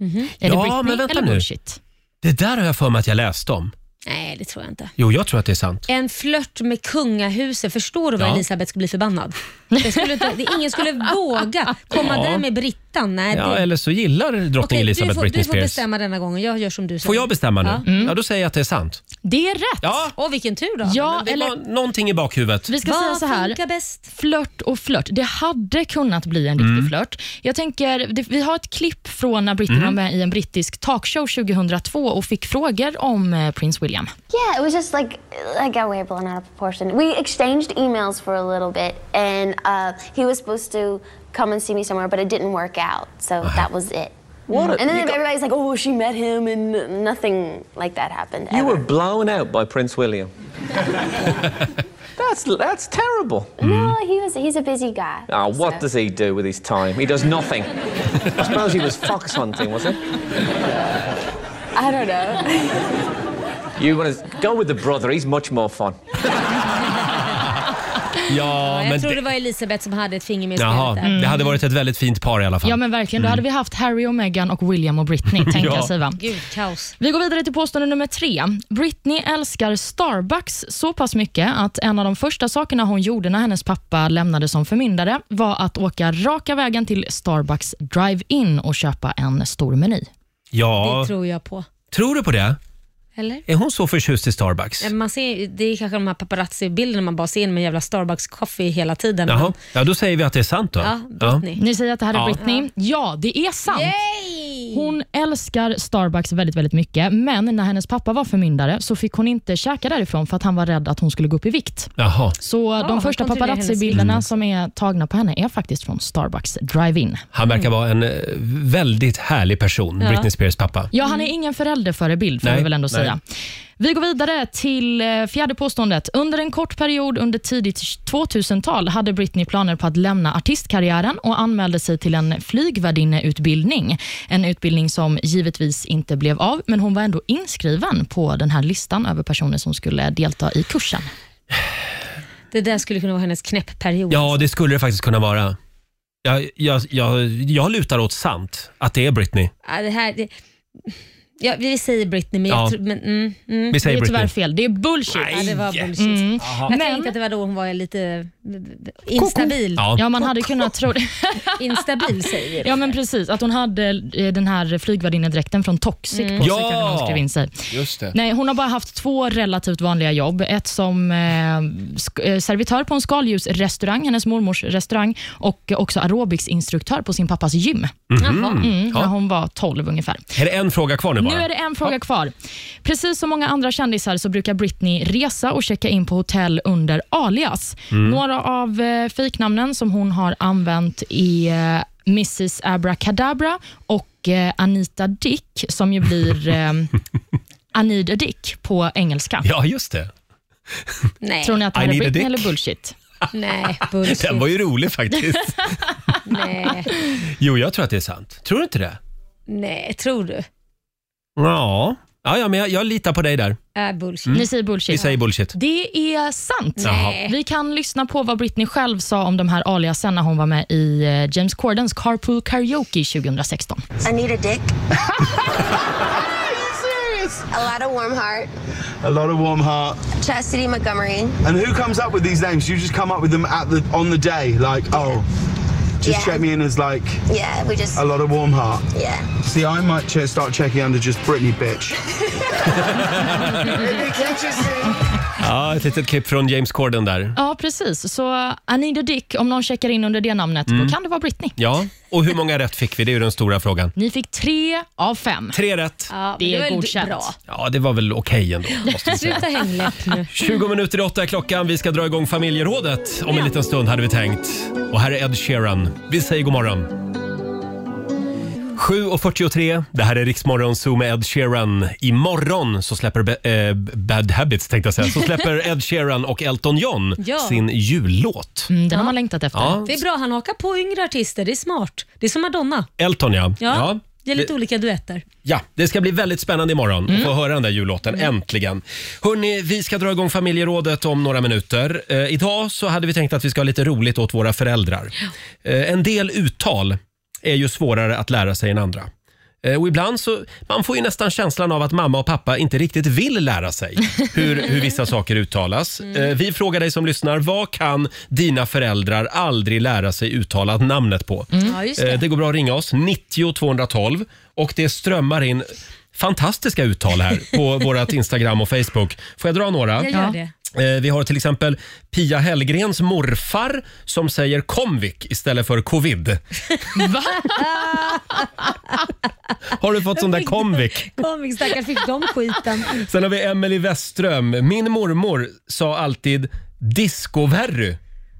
Är Mhm. Ja, det Britney men vänta eller nu. bullshit? Det där har jag för mig att jag läste om. Nej, det tror jag inte. Jo, jag tror att det är sant. En flört med kungahuset, förstår du vad Ja. Elisabeth skulle bli förbannad? Det skulle inte, det, ingen skulle våga komma Ja. där med Brittan. Nej, Ja, det, eller så gillar drottning Okej, Elizabeth du får, Britney du får Spears. bestämma denna gången. Jag gör som du säger. Får jag bestämma nu? Ja. Ja. då säger jag att det är sant. Det är rätt. Ja, Åh, vilken tur då. Ja, men det eller var någonting i bakhuvudet. vi ska säga Vad så här. funkar bäst? Flört och flört. Det hade kunnat bli en riktig flört. Jag tänker, det, vi har ett klipp från när Britney var med i en brittisk talkshow 2002 och fick frågor om eh, prins William. Yeah, it was just like I got way blown out of proportion. We exchanged emails for a little bit, and uh, he was supposed to come and see me somewhere, but it didn't work out, so Uh-huh. that was it. What? and then everybody's like, "Oh, she met him," and nothing like that happened. You ever. were blown out by Prince William. that's that's terrible. no, Oh, he was. He's a busy guy. Ah, what so- does he do with his time? He does nothing. I suppose he was fox hunting, was he? I don't know. You want to go with the brother? He's much more fun. Ja, jag men tror det det, var Elisabeth som hade ett finger med i jaha, spelet Mm. där. det hade varit ett väldigt fint par i alla fall. Ja men verkligen, då hade vi haft Harry och Meghan och William och Britney, tänka Ja. sig va? Gud, kaos. Vi går vidare till påstående nummer tre. Britney älskar Starbucks så pass mycket att en av de första sakerna hon gjorde när hennes pappa lämnade som förmyndare var att åka raka vägen till Starbucks drive-in och köpa en stor meny. Ja, Det tror... tror jag på. du på det? Eller? Är hon så förtjust i Starbucks? Nej, men Man ser, det är kanske de här paparazzi-bilderna man bara ser in med en jävla Starbucks-kaffe hela tiden. Jaha. Ja, då säger vi att det är sant då. Ja, Britney. Ni säger att det här är Ja. Britney. Ja, det är sant. Hon älskar Starbucks väldigt, väldigt mycket, men när hennes pappa var förmyndare så fick hon inte käka därifrån för att han var rädd att hon skulle gå upp i vikt. Jaha. Så de första kontrollerar hennes paparazzi-bilderna som är tagna på henne är faktiskt från Starbucks drive-in. Han verkar vara en eh, väldigt härlig person, Britney Spears pappa. Ja, han är ingen förälderförebild får Mm. Nej, vi väl ändå nej. säga. Vi går vidare till eh, fjärde påståendet. Under en kort period under tidigt 2000-tal hade Britney planer på att lämna artistkarriären och anmälde sig till en flygvärdinneutbildning. En utbildning som givetvis inte blev av, men hon var ändå inskriven på den här listan över personer som skulle delta i kursen. Det där skulle kunna vara hennes knäppperiod. Ja, det skulle det faktiskt kunna vara. Jag, jag, jag, jag lutar åt sant, att det är Britney. Ja, det här, det, ja, vi säger Britney, men, Ja. jag tror, men mm, mm. Vi Det säger är tyvärr Britney. fel. Det är bullshit. Ja, det var bullshit. Mm. Jag tänkte att det var då hon var lite instabil. Ja. Ja, man hade kunnat tro det. Instabil säger vi. Ja men precis, att hon hade eh, den här flygvärdinnedräkten från Toxic på sig Ja! kanske när hon skrev in sig. Nej, hon har bara haft två relativt vanliga jobb. Ett som eh, sk- eh, servitör på en skaldjursrestaurang, hennes mormors restaurang, och också aerobicsinstruktör på sin pappas gym Mhm. mm, när hon var 12 ungefär. Är det en fråga kvar nu bara? Nu är det en fråga kvar. Precis som många andra kändisar så brukar Britney resa och checka in på hotell under alias. Mm. Några av eh, fejknamnen som hon har använt är eh, Mrs Abracadabra och eh, Anita Dick, som ju blir eh, Anida Dick på engelska. Ja, just det. Nej, Tror ni att det här är Anita Britney Dick? eller bullshit? nej, bullshit. Den var ju rolig faktiskt. nej, Jo, jag tror att det är sant. Tror du inte det? nej, tror du? Ja, ja, ja men jag, jag litar på dig där. Är Äh, bullshit. Ni säger Vi bullshit. säger bullshit. Det är sant. Jaha. Vi kan lyssna på vad Britney själv sa om de här aliasen när hon var med i eh, James Cordens Carpool Karaoke 2016. I need a dick. A lot of warm heart. A lot of warm heart. Chastity Montgomery. And who comes up with these names? You just come up with them at the on the day, like oh, just Yeah. check me in as like Yeah, we just. a lot of warm heart. Yeah. See, I might ch- start checking under just Britney bitch. If it catches me. Ja, ett litet klipp från James Corden där. Ja, precis. Så I need a dick, om någon checkar in under det namnet, då kan det vara Britney. Mm. Ja, och hur många rätt fick vi? Det är ju den stora frågan. Ni fick tre av fem. Tre rätt. Ja, Det är väl godkänt. Bra. Ja, det var väl okej ändå. Måste vi säga. Sluta hängläpp nu. 20 minuter i åtta är klockan. Vi ska dra igång familjerådet om en liten stund hade vi tänkt. Och här är Ed Sheeran. Vi säger god morgon. 7.43, det här är Riksmorgon Zoo med Ed Sheeran. Imorgon så släpper Be- eh, Bad Habits tänkte jag säga, så släpper Ed Sheeran och Elton John Ja. sin jullåt. Mm, den har man längtat efter. Ja, Det är bra, han hakar på yngre artister. Det är smart. Det är som Madonna. Elton ja. Ja, Ja. Det är lite olika duetter. Ja, det ska bli väldigt spännande imorgon att få höra den där jullåten äntligen. Hörni, vi ska dra igång familjerådet om några minuter. Eh, idag så hade vi tänkt att vi ska ha lite roligt åt våra föräldrar. Eh, en del uttal är ju svårare att lära sig än andra. Eh, och ibland så, man får ju nästan känslan av att mamma och pappa inte riktigt vill lära sig hur, hur vissa saker uttalas. Eh, vi frågar dig som lyssnar, vad kan dina föräldrar aldrig lära sig uttala namnet på? Mm. Ja, just Eh, det. Det går bra att ringa oss, 90 212. Och det strömmar in fantastiska uttal här på vårt Instagram och Facebook. Får jag dra några? Jag gör det. Eh, Vi har till exempel Pia Hellgrens morfar som säger komvik istället för covid. Va? Har du fått sån där komvik? Kom, stackars fick de skiten. Sen har vi Emily Westström. Min mormor sa alltid discoverry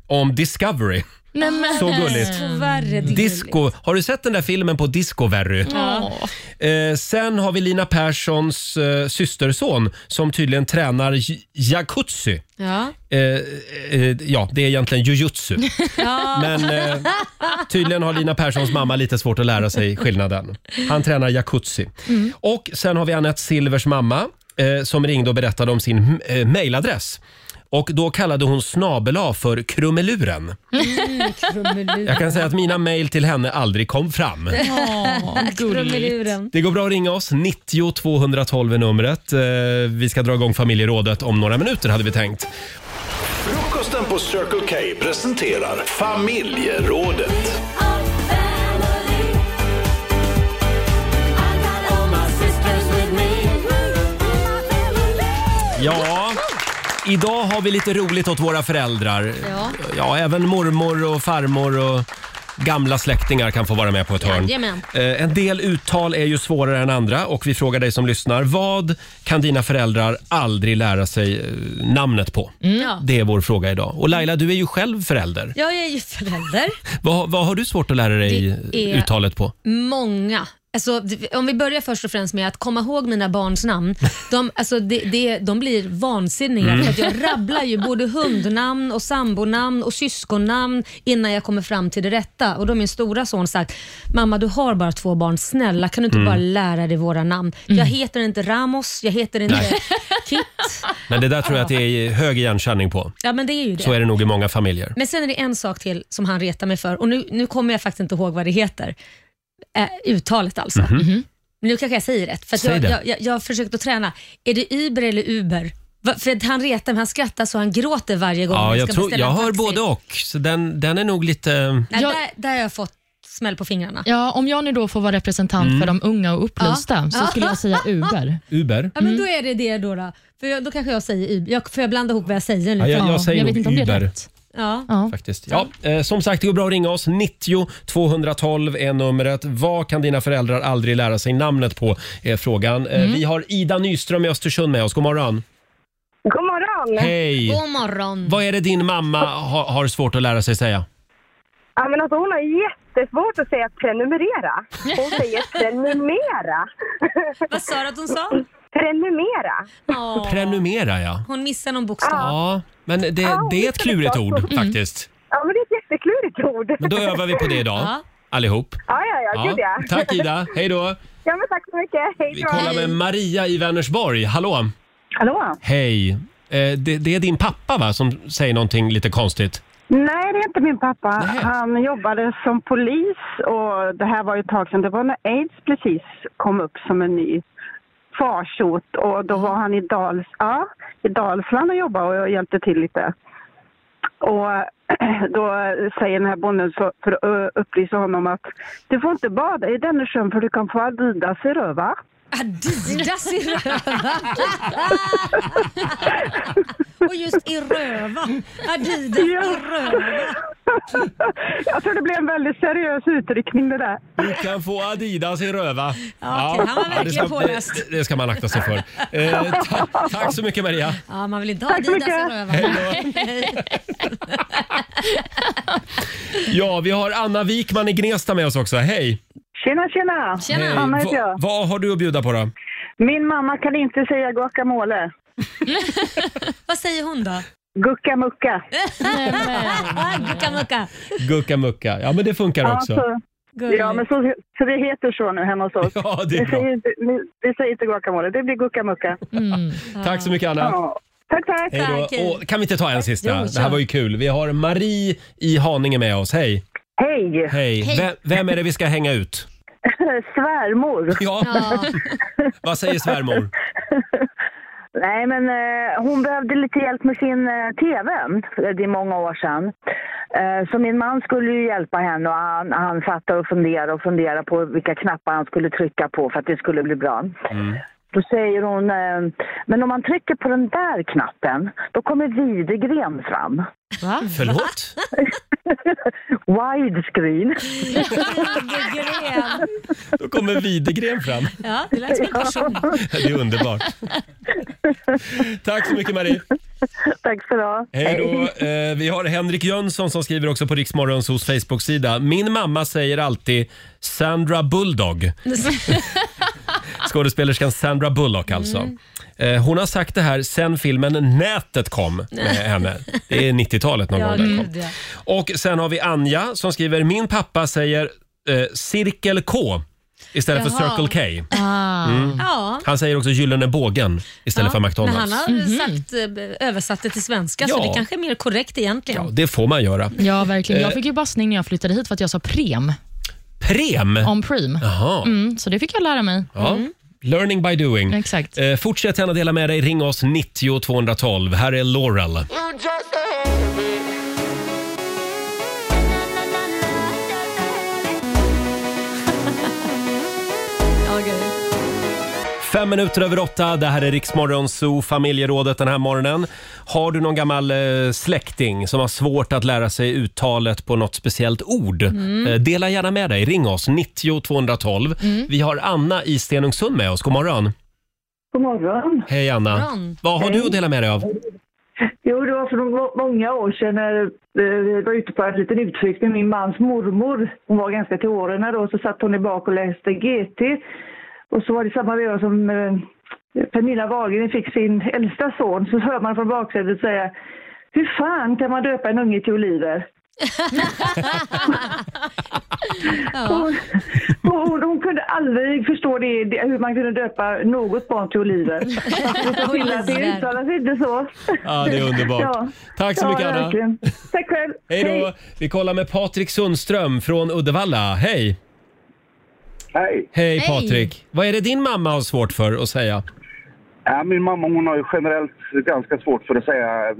om Discovery. Nej, men. Så gulligt. Så värre det Mm. Disco. Har du sett den där filmen på Discoverry? Åh. Eh, sen har vi Lina Perssons eh, systerson som tydligen tränar j- jacuzzi. Ja. Eh, eh, ja, det är egentligen jujutsu. Ja. Men eh, tydligen har Lina Perssons mamma lite svårt att lära sig skillnaden. Han tränar jacuzzi. Mm. Och sen har vi Annette Silvers mamma eh, som ringde och berättade om sin eh, mailadress. Och då kallade hon snabel A för krumeluren. Mm, Krumelur. Jag kan säga att mina mejl till henne aldrig kom fram. Åh, gulligt. Krumeluren. Det går bra att ringa oss. 90 212 är numret. Eh, vi ska dra igång familjerådet om några minuter hade vi tänkt. Frukosten på Circle K presenterar Familjerådet. Ja, idag har vi lite roligt åt våra föräldrar. Ja. även mormor och farmor och gamla släktingar kan få vara med på ett hörn. Jajamän. Eh, en del uttal är ju svårare än andra och vi frågar dig som lyssnar. Vad kan dina föräldrar aldrig lära sig eh, namnet på? Ja. Det är vår fråga idag. Och Laila, du är ju själv förälder. Jag är ju förälder. Vad, vad har du svårt att lära dig Det är- uttalet på? Många. Alltså, d- om vi börjar först och främst med att komma ihåg mina barns namn. De, alltså, det, det, de blir vansinniga. För att jag rabblar ju både hundnamn, och sambonamn och syskonnamn innan jag kommer fram till det rätta. Och då har min stora son sagt, mamma du har bara två barn, snälla kan du inte bara lära dig våra namn? Jag heter inte Ramos, jag heter inte Kit. Men det där tror jag att det är hög igenkänning på. Ja men det är ju det. Så är det nog i många familjer. Men sen är det en sak till som han retar mig för och nu, nu kommer jag faktiskt inte ihåg vad det heter. Eh, uttalet alltså. Men Nu kanske jag säger rätt, för att Mhm. Säg jag, det. jag, jag, jag har försökt att träna. Är det Uber eller Uber? Va- För att han retar mig, han skrattar så han gråter varje gång Ja, han jag, ska tror, beställa jag en hör taxi. både och. Så den, den är nog lite... eh, Nej, Jag- där, där har jag fått smäll på fingrarna. Ja, om jag nu då får vara representant för Mm. de unga och upplysta så skulle jag säga Uber. Uber? Ja, men då är det det då. då. För jag, då kanske jag säger Uber. Jag, får jag blanda ihop vad jag säger nu? Ja, jag, jag säger jag nog vet inte om det är Uber. rätt. Ja. Ja. Faktiskt. Ja, eh, som sagt, det går bra att ringa oss. 90 212 är numret. Vad kan dina föräldrar aldrig lära sig namnet på? är frågan. Eh, Vi har Ida Nyström i Östersund med oss. God morgon. God morgon! Hej! God morgon. Vad är det din mamma har, har svårt att lära sig säga? Ja, men alltså, hon har jättesvårt att säga prenumerera. Hon säger prenumerera. Vad sa du att hon sa? prenumerera. Åh, Prenumerera, ja. hon missar någon bokstav. Ja, men det, det är ett klurigt ord faktiskt. Ja, men det är ett jätteklurigt ord. Men då övar vi på det idag, Ja. allihop. Ja, ja, ja, gud ja. Tack Ida, hej då. Ja, men tack så mycket. Hej Vi då. kollar med Maria i Vänersborg. Hallå! Hallå? Hej! Eh, det, det är din pappa va, som säger någonting lite konstigt? Nej, det är inte min pappa. Nej. Han jobbade som polis och det här var ju ett tag sedan. Det var när aids precis kom upp som en ny farsot och då var han i, Dals, ja, i Dalsland och jobbade och hjälpte till lite. Och då säger den här bonden så, för att ö, upplysa honom att du får inte bada i denna sjön för du kan få Adidas i röva. Adidas i röven. i röva. Adidas i röva. Jag tror det blev en väldigt seriös utryckning det där. Du kan få Adidas i röva. han var det verkligen ska, påläst. Det, det ska man akta sig för. Eh, ta, tack så mycket Maria. Ja, man vill inte ha Tack så Adidas i mycket. röva. Hej. Ja, vi har Anna Wikman i Gnesta med oss också. Hej! Tjena, tjena! Tjena. Hej. Anna heter Va- jag. vad har du att bjuda på då? Min mamma kan inte säga guacamole. Vad säger hon då? Guckamucka. Ah, Gucka mucka. Guckamucka. Ja, men det funkar också. så, Gulligt. ja, men så, så det heter så nu hemma hos oss. Ja, det Vi är bra. säger, inte- vi, vi säger inte guacamole, det blir guckamucka. Tack så mycket Anna. Ja. Tack, tack! Hej då. Tack, hej. Och kan vi inte ta en sista? Jo, det här kör. var ju kul. Vi har Marie i Haninge med oss. Hej! Hej! Hej! Hej. Vem, vem är det vi ska hänga ut? Svärmor. Ja, Ja. vad säger svärmor? Nej, men eh, hon behövde lite hjälp med sin eh, TV. eh, Det är många år sedan. Eh, så min man skulle ju hjälpa henne och han, han satt och funderade och funderade på vilka knappar han skulle trycka på för att det skulle bli bra. Mm. Då säger hon, eh, men om man trycker på den där knappen, då kommer Widegren fram. Va? Förlåt? Widescreen. Widegren. Då kommer Widegren fram. Ja, det lät som en person. Det är underbart. Tack så mycket Marie. Tack så du ha. Hej då. Eh, vi har Henrik Jönsson som skriver också på Riksmorgonsos Facebook-sida. Min mamma säger alltid Sandra Bulldog. Skådespelerskan Sandra Bullock alltså. Mm. Eh, hon har sagt det här sen filmen Nätet kom med henne. Det är 90-talet någon Ja, gång. Den kom. gud ja. Och sen har vi Anja som skriver Min pappa säger eh, Cirkel K istället Jaha. för Circle K. Ah. Ja. Han säger också Gyllene bågen istället för Ja, McDonalds. Mhm. Men han har sagt, eh, översatt det till svenska, så Ja. det kanske är mer korrekt egentligen. Ja, det får man göra. Ja, verkligen. Eh. Jag fick ju bassning när jag flyttade hit för att jag sa prem Prem! om prim. Jaha. Mm, så det fick jag lära mig. Ja. Mm. Learning by doing. Exakt. Eh, fortsätt gärna dela med dig. Ring oss 90 212. Här är Laurel. Ja, gud. Fem minuter över åtta. Det här är Riksmorgon Zoo, familjerådet den här morgonen. Har du någon gammal eh, släkting som har svårt att lära sig uttalet på något speciellt ord? Mm. Eh, dela gärna med dig. Ring oss 90 212. Vi har Anna i Stenungsund med oss. God morgon. God morgon. Hej Anna. morgon. Vad har du att dela med dig av? Jo, det var för må- många år sedan när eh, vi var ute på en liten utflykt med min mans mormor. Hon var ganska till åren här då, så satt hon i bak och läste GT. Och så var det samma veva som eh, Pernilla Wahlgren fick sin äldsta son, så hör man från baksätet säga hur fan kan man döpa en unge till oliver? Ja. Och hon, hon kunde aldrig förstå det, det, hur man kunde döpa något barn till oliver. Att det Oliver. uttalas inte så. Ja, det är underbart. Ja. Tack så Ja, mycket Anna. verkligen. Tack själv. Hej då. Vi kollar med Patrik Sundström från Uddevalla. Hej! Hej. Hej Hej. Patrik! Vad är det din mamma har svårt för att säga? Ja, min mamma hon har ju generellt ganska svårt för att säga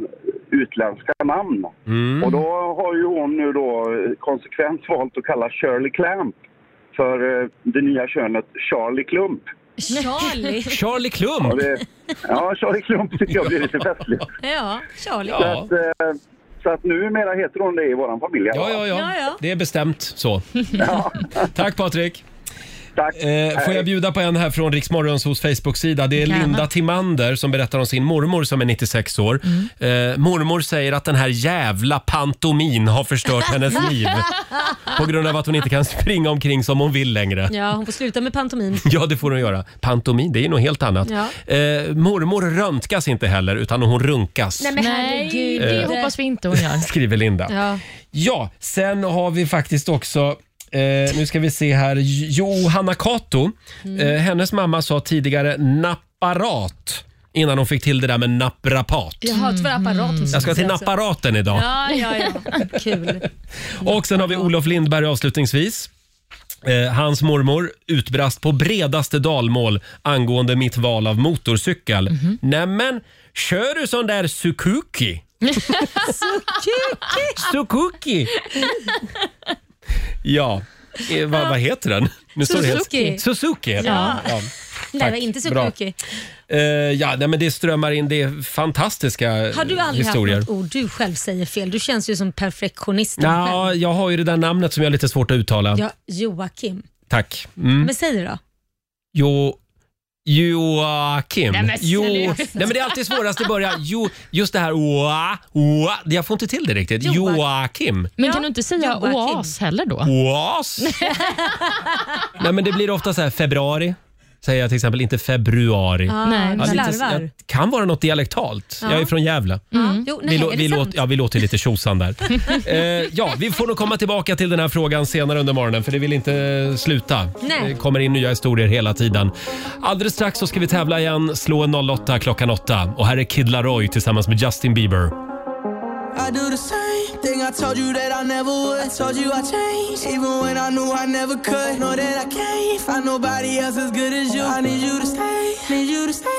utländska namn. Mm. Och då har ju hon nu då eh, konsekvent valt att kalla Shirley Clamp för eh, det nya könet Charlie Klump. Charlie. Charlie Klump! Och det, ja, Charlie Klump tycker jag blir lite festligt. Ja, Charlie. Så Ja. att, eh, så att numera heter hon det i vår familj. Ja, ja, ja, Ja, ja. Det är bestämt så. Tack Patrik! Tack. Eh, får jag bjuda på en här från Riksmorgons hos Facebook-sida. Det är Gärna. Linda Timander som berättar om sin mormor som är 96 år. Eh, mormor säger att den här jävla pantomin har förstört hennes liv. På grund av att hon inte kan springa omkring som hon vill längre. Ja, hon får sluta med pantomin. Ja, det får hon göra. Pantomin, det är något helt annat. Ja. Eh, mormor röntgas inte heller, utan hon runkas. Nej, men herregud. det hoppas vi inte hon gör. Skriver Linda. Eh. Ja. Ja. sen har vi faktiskt också Eh, nu ska vi se här. Jo, Hanna Kato. Mm. Eh, hennes mamma sa tidigare napparat innan hon fick till det där med naprapat. Jaha, det var apparat hon Mm. Jag ska till säga, alltså. napparaten idag. Ja, ja, ja. Kul. Och sen har vi Olof Lindberg avslutningsvis. Eh, hans mormor utbrast på bredaste dalmål angående mitt val av motorcykel. Mhm. Nämen, kör du sån där Suzuki? Suzuki! ja, eh, vad, vad heter den? Nu står det helt- Suzuki. Suzuki heter den. Ja. Nej, var inte så Bra. tokig. Eh, ja, nej, men det strömmar in. Det är fantastiska Har du aldrig historier. haft något ord du själv säger fel? Du känns ju som perfektionisten själv. Ja, jag har ju det där namnet som jag har lite svårt att uttala. Ja, Joakim. Tack. Mm. Men säg det då. Jo, Joakim. Nej, men jo, nej, sluta. men det är alltid svårast att börja. Jo, just det här oa, oa. Jag får inte till det riktigt. Joakim. Joakim. Men kan du inte säga Joakim. oas heller då? Oas. nej, men det blir ofta så här februari. Säger jag till exempel, inte februari. Ah, Nej, du Ja, lite- slarvar. jag- kan vara något dialektalt. Jag är från Gävle. Mm. Ja. Jo, Mm. nej, vi, lå- är det vi, sant? låt, ja, vi låter lite tjosan där. eh, ja, vi får nog komma tillbaka till den här frågan senare under morgonen för det vill inte sluta. Nej. Det kommer in nya historier hela tiden. Alldeles strax så ska vi tävla igen. Slå en 08 klockan 8. Och här är Kid Laroi tillsammans med Justin Bieber. I do the same thing I told you that I never would. I told you I changed, even when I knew I never could. Know that I can't find nobody else as good as you. I need you to stay, need you to stay.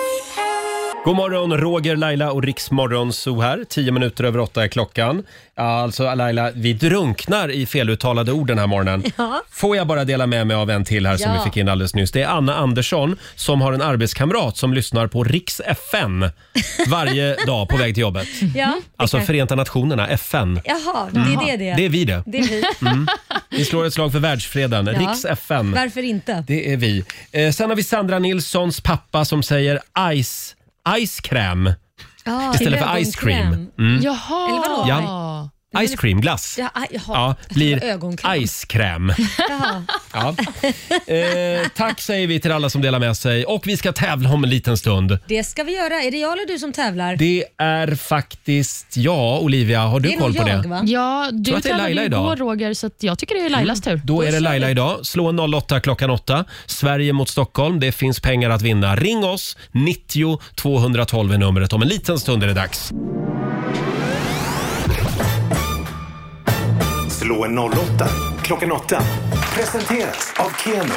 God morgon, Roger, Laila och Riksmorgon Zoo här. Tio minuter över åtta är klockan. Alltså Laila, vi drunknar i feluttalade ord den här morgonen. Ja. Får jag bara dela med mig av en till här som Ja. vi fick in alldeles nyss. Det är Anna Andersson som har en arbetskamrat som lyssnar på Riks FN varje dag på väg till jobbet. Ja, Alltså Förenta Nationerna, FN. Jaha, det är det det Det är vi det. Det är vi. Vi slår ett slag för världsfreden. Riks FN. Varför inte? Det är vi. Eh, sen har vi Sandra Nilssons pappa som säger ice, ice cream. Ah, Istället för ice cream. Mm. Jaha. Eller vadå? Ja. Ice cream, glass. Ja, aj, jaha. Ja, Jag blir tror det var ögonkräm. icekräm. Jaha. Ja. Eh, tack säger vi till alla som delar med sig och vi ska tävla om en liten stund. Det ska vi göra. Är det jag eller du som tävlar? Det är faktiskt, ja Olivia, har du det är koll nog på jag, det? va? Ja, Tror du att det är tävlade Laila ju idag. Mm. igår Roger, så att jag tycker det är Lailas tur. Då är det Laila idag. Slå 08 klockan 8. Sverige mot Stockholm. Det finns pengar att vinna. Ring oss! 90 212 är numret. Om en liten stund är det dags. Slå en 08 klockan 8. Presenteras av Keno.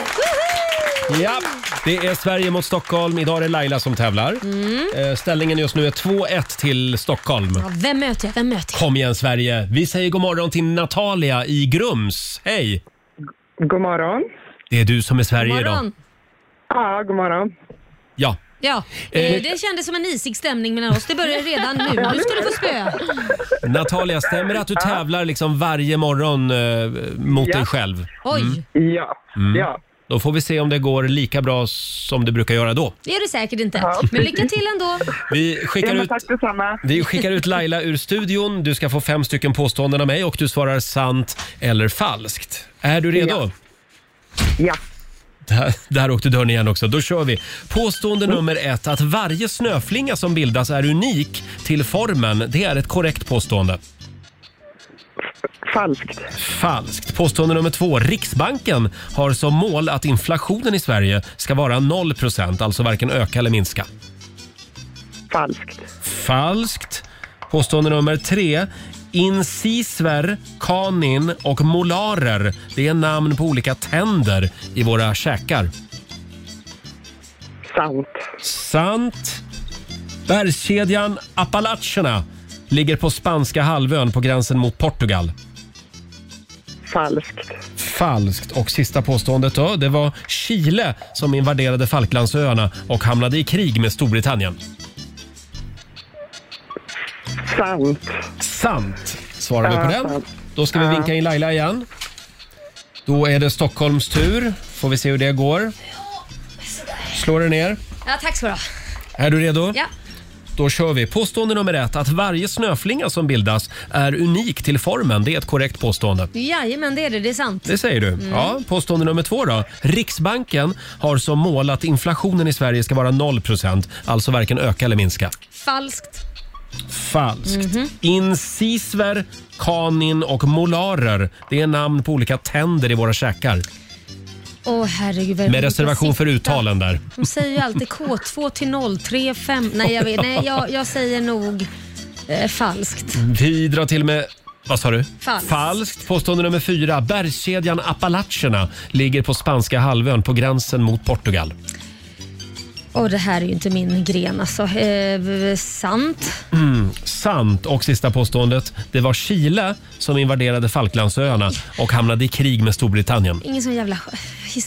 Ja, det är Sverige mot Stockholm. Idag är det Laila som tävlar. Eh, ställningen just nu är 2-1 till Stockholm. Mm. Ja, vem möter jag? Vem möter jag? Kom igen Sverige! Vi säger god morgon till Natalia i Grums. Hej! God morgon. Det är du som är Sverige idag. Morgon. Ja, god morgon. Ja. Ja, Eh. eh. det kändes som en isig stämning mellan oss. Det börjar redan nu. Nu ska du få spö. Natalia, stämmer det att du tävlar liksom varje morgon eh, mot Ja. dig själv? Oj, Mm. Ja, ja. Då får vi se om det går lika bra som det brukar göra då. det gör du säkert inte. Men lycka till ändå. Vi skickar men ut, tack detsamma. vi skickar ut Laila ur studion. Du ska få fem stycken påståenden av mig och du svarar sant eller falskt. Är du redo? Ja. Där, där åkte dörren igen också. Då kör vi. Påstående nummer ett, att varje snöflinga som bildas är unik till formen, det är ett korrekt påstående. Falskt. Falskt. Påstående nummer två, Riksbanken har som mål att inflationen i Sverige ska vara 0%, alltså varken öka eller minska. Falskt. Falskt. Påstående nummer tre, incisver, kanin och molarer, det är namn på olika tänder i våra käkar. Sant. Sant. Bergskedjan Appalacherna ligger på spanska halvön på gränsen mot Portugal. Falskt. Falskt. Och sista påståendet då. Det var Chile som invaderade Falklandsöarna och hamnade i krig med Storbritannien. Sant. Sant. Svarar vi på Ja, den? sant. Då ska vi vinka in Laila igen. Då är det Stockholms tur. Får vi se hur det går. Slår det ner. Ja, tack ska du ha. Är du redo? Ja. Då kör vi. Påstående nummer ett, att varje snöflinga som bildas är unik till formen. Det är ett korrekt påstående. Jajamän, det är det. Det är sant. Det säger du. Ja, påstående nummer två då. Riksbanken har som mål att inflationen i Sverige ska vara 0%, alltså varken öka eller minska. Falskt. Falskt. Incisver, kanin och molarer, det är namn på olika tänder i våra käkar. Åh herregud. vad Med jag reservation inte för sitta. uttalen där. De säger ju alltid K2 till 035. Nej, jag, vet, nej, jag, jag säger nog eh, falskt. Vi drar till med vad sa du? Falskt. Falskt. Påstående nummer fyra. Bergskedjan Appalacherna ligger på spanska halvön på gränsen mot Portugal. Och det här är ju inte min gren alltså. Eh, v- sant. Mm, sant. Och sista påståendet. Det var Chile som invaderade Falklandsöarna och hamnade i krig med Storbritannien. Ingen sån jävla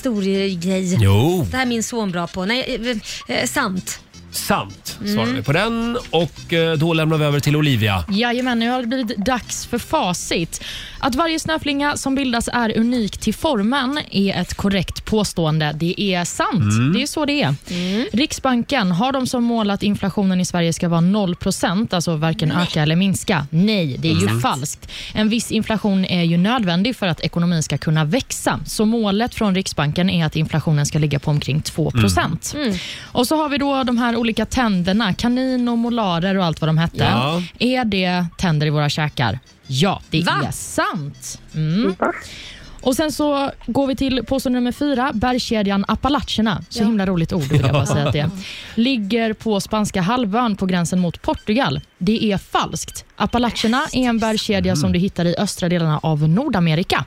historiegrej. Jo. Det här är min son bra på. Nej, eh, eh, sant. Sant Mm. svarar vi på den och eh, då lämnar vi över till Olivia. Jajamän, nu har det blivit dags för facit. Att varje snöflinga som bildas är unik till formen är ett korrekt påstående. Det är sant. Mm. Det är ju så det är. Riksbanken, har de som mål att inflationen i Sverige ska vara 0 alltså varken öka eller minska? Nej, det är ju Mm. falskt. En viss inflation är ju nödvändig för att ekonomin ska kunna växa. Så målet från Riksbanken är att inflationen ska ligga på omkring 2 Och så har vi då de här olika tänderna, kanin och molarer och allt vad de hette. Ja. Är det tänder i våra käkar? Ja, det Va? är sant. Mm. Och Sen så går vi till påstående nummer fyra, bergskedjan Appalacherna. Så himla roligt ord vill jag bara Ja. säga att det är. Ligger på spanska halvön på gränsen mot Portugal. Det är falskt. Appalacherna är en bergskedja som du hittar i östra delarna av Nordamerika.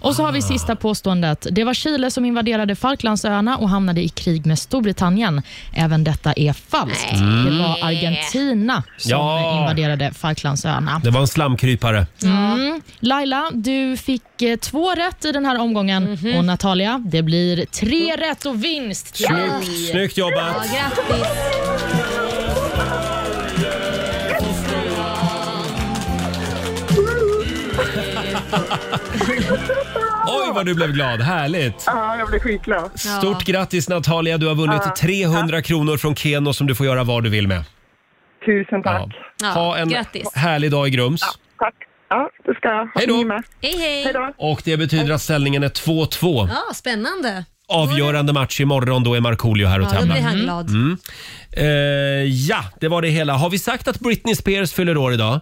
Och så har vi sista påståendet. Det var Chile som invaderade Falklandsöarna och hamnade i krig med Storbritannien. Även detta är falskt. Nej. Det var Argentina som Ja. invaderade Falklandsöarna. Det var en slamkrypare. Mm. Laila, du fick eh, två rätt i den här omgången. Mhm. Och Natalia, det blir tre Mm. rätt och vinst till dig. Snyggt, snyggt jobbat! grattis. Oj, vad du blev glad. Härligt! Ja, jag blev skitglad. Stort grattis Natalia, du har vunnit Ja. 300 kronor från Keno som du får göra vad du vill med. Tusen tack. Ha en härlig dag i Grums. Tack. Ja, det ska jag. Hej då. Hej, hej. Och det betyder att ställningen är 2-2. Ja, spännande. Avgörande match imorgon, då är Markoolio här och Ja, då tävlar. blir han glad. Mm. Eh, ja, det var det hela. Har vi sagt att Britney Spears fyller år idag? Eh,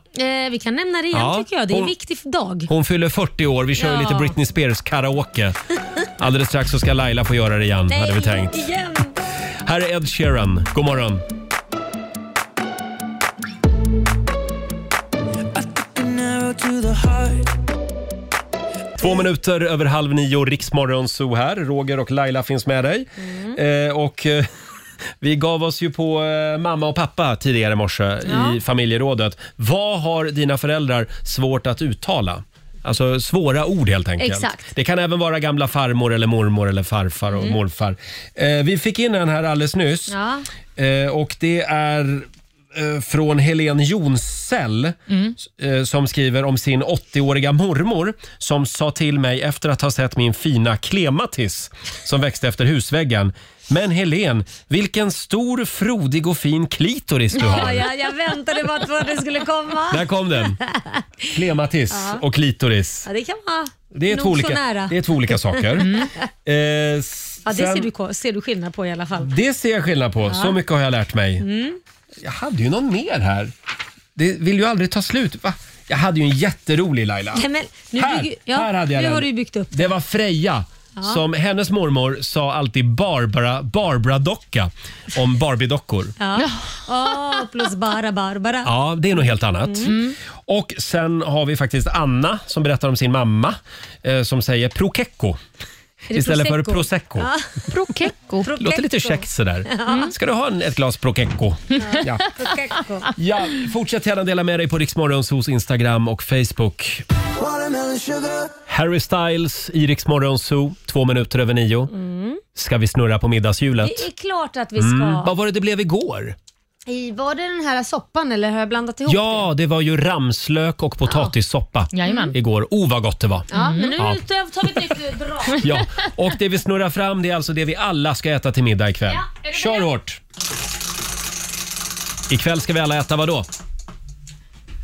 vi kan nämna det igen Ja, tycker jag. Det är en hon- viktig dag. Hon fyller 40 år. Vi kör Ja. lite Britney Spears-karaoke. Alldeles strax så ska Laila få göra det igen, hade vi tänkt. igen. Här är Ed Sheeran. God morgon. An arrow to the heart. Två minuter över halv nio, Riksmorgon Zoo här. Roger och Laila finns med dig. Eh, och eh, vi gav oss ju på eh, mamma och pappa tidigare i morse i familjerådet. Vad har dina föräldrar svårt att uttala? Alltså svåra ord helt enkelt. Exakt. Det kan även vara gamla farmor eller mormor eller farfar och Mm. morfar. Eh, vi fick in en här alldeles nyss. Ja. Eh, och det är eh, från Helen Jonsell Mm. eh, som skriver om sin 80-åriga mormor som sa till mig efter att ha sett min fina klematis som växte efter husväggen. Men Helen, vilken stor, frodig och fin klitoris du Ja, har. jag, jag väntade bara på att det skulle komma. Där kom den. Klematis Ja. och klitoris. Ja, det kan vara Det är, nog två så olika, nära. det är två olika saker. Mm. Eh, Ja, det sen- ser, du, ko- ser du skillnad på i alla fall. det ser jag skillnad på. Ja. Så mycket har jag lärt mig. Mm. Jag hade ju någon mer här. Det vill ju aldrig ta slut. Va? Jag hade ju en jätterolig Laila. Nej, men nu här, bygger- ja, här hade jag nu den. har du ju byggt upp Det var Freja. Ja. Som hennes mormor sa alltid Barbara, Barbara-docka om Barbie-dockor. Ja. Åh, plus bara Barbara. Ja, det är något helt annat. Mm. Och sen har vi faktiskt Anna som berättar om sin mamma eh, som säger Prokecco. det Istället för prosecco? prosecco. Ja. Prokecco. Låter lite käckt sådär. Mm. Ska du ha en, ett glas Prokecco? Ja. Ja, fortsätt gärna dela med dig på Riksmorgonsos Instagram och Facebook. Watermelon sugar. Harry Styles i Riksmorgonso, två minuter över nio. Mm. Ska vi snurra på middagshjulet? Det är klart att vi ska. Vad var det det blev igår? I, var det den här soppan eller har jag blandat ihop det? Ja, det var ju ramslök och potatissoppa Jajamän. igår. O, vad gott det var. Ja, men nu Mm. Ja. tar vi ett nytt eh, drag. Ja, och det vi snurrar fram det är alltså det vi alla ska äta till middag ikväll. Kör hårt! Ikväll ska vi alla äta vad då?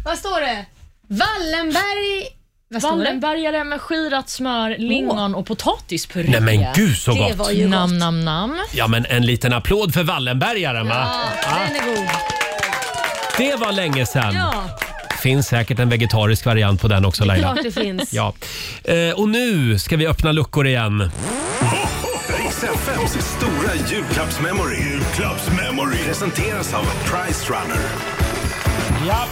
Vad står det? Wallenberg... Vad står det? Wallenbergare med skirat smör, lingon och potatispuré. Nej, men gud, så Det gott. var ju gott. Nam, nam, nam. Ja, men en liten applåd för Wallenbergaren va? Ah. Den är god. Det var länge sedan. Ja. Finns säkert en vegetarisk variant på den också Mm. Laila. Klart det finns. Ja. Eh, och nu ska vi öppna luckor igen. Riks FMs stora julklappsmemory. Julklappsmemory. Presenteras av Price Runner. Ja.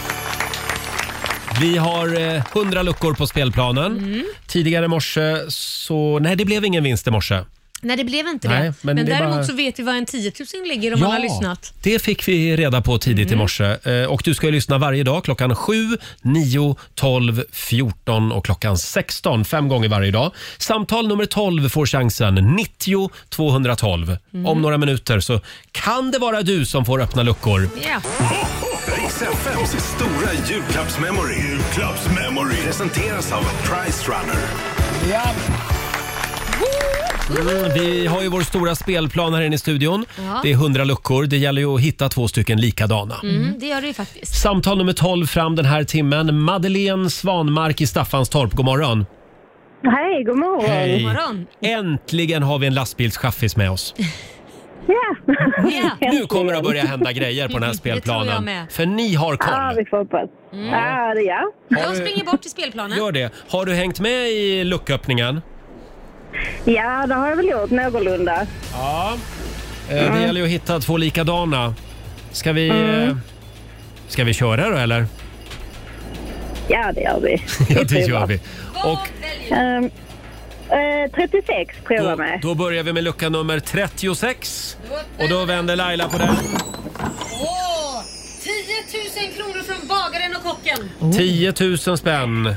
Vi har eh, 100 luckor på spelplanen. Tidigare i morse så... Nej, det blev ingen vinst i morse. Nej, det blev inte Nej, det. men Men, det är däremot bara- så vet vi var en tiotusing ligger om man har lyssnat. Mm. det fick vi reda på tidigt i morse. Eh, Och du ska ju lyssna varje dag klockan 7, 9, 12, 14 och klockan 16. Fem gånger varje dag. Samtal nummer 12 får chansen. 90 212. Mm. Om några minuter så kan det vara du som får öppna luckor. Mm. Riks FMs stora julklappsmemory. Julklappsmemory presenteras av Price Runner. Ja. Mm, vi har ju vår stora spelplan här inne i studion. Ja. Det är 100 luckor. Det gäller ju att hitta två stycken likadana. Mm, det gör det ju faktiskt. Samtal nummer 12 fram den här timmen. Madeleine Svanmark i Staffanstorp, god morgon. Hej, god morgon. Äntligen har vi en lastbilschaffis med oss. Ja. Nu kommer det att börja hända grejer på den här Det tror jag spelplanen. med. För ni har Ja, koll. vi får hoppas. Mm. Ja, det ja. Jag springer bort till spelplanen. Gör det. Har du hängt med i lucköppningen? Eh, ja, det har jag väl gjort någorlunda. Ja. Eh, Det gäller ju att hitta två likadana. Ska vi... eh, Ska vi köra då eller? Ja, det gör vi. Ja, det gör vi. Och Ehm, eh, 36 provar då, med. då börjar vi med lucka nummer 36. Och då vänder Laila på den. Åh! 10 000 kronor från bagaren och kocken. 10 000 spänn.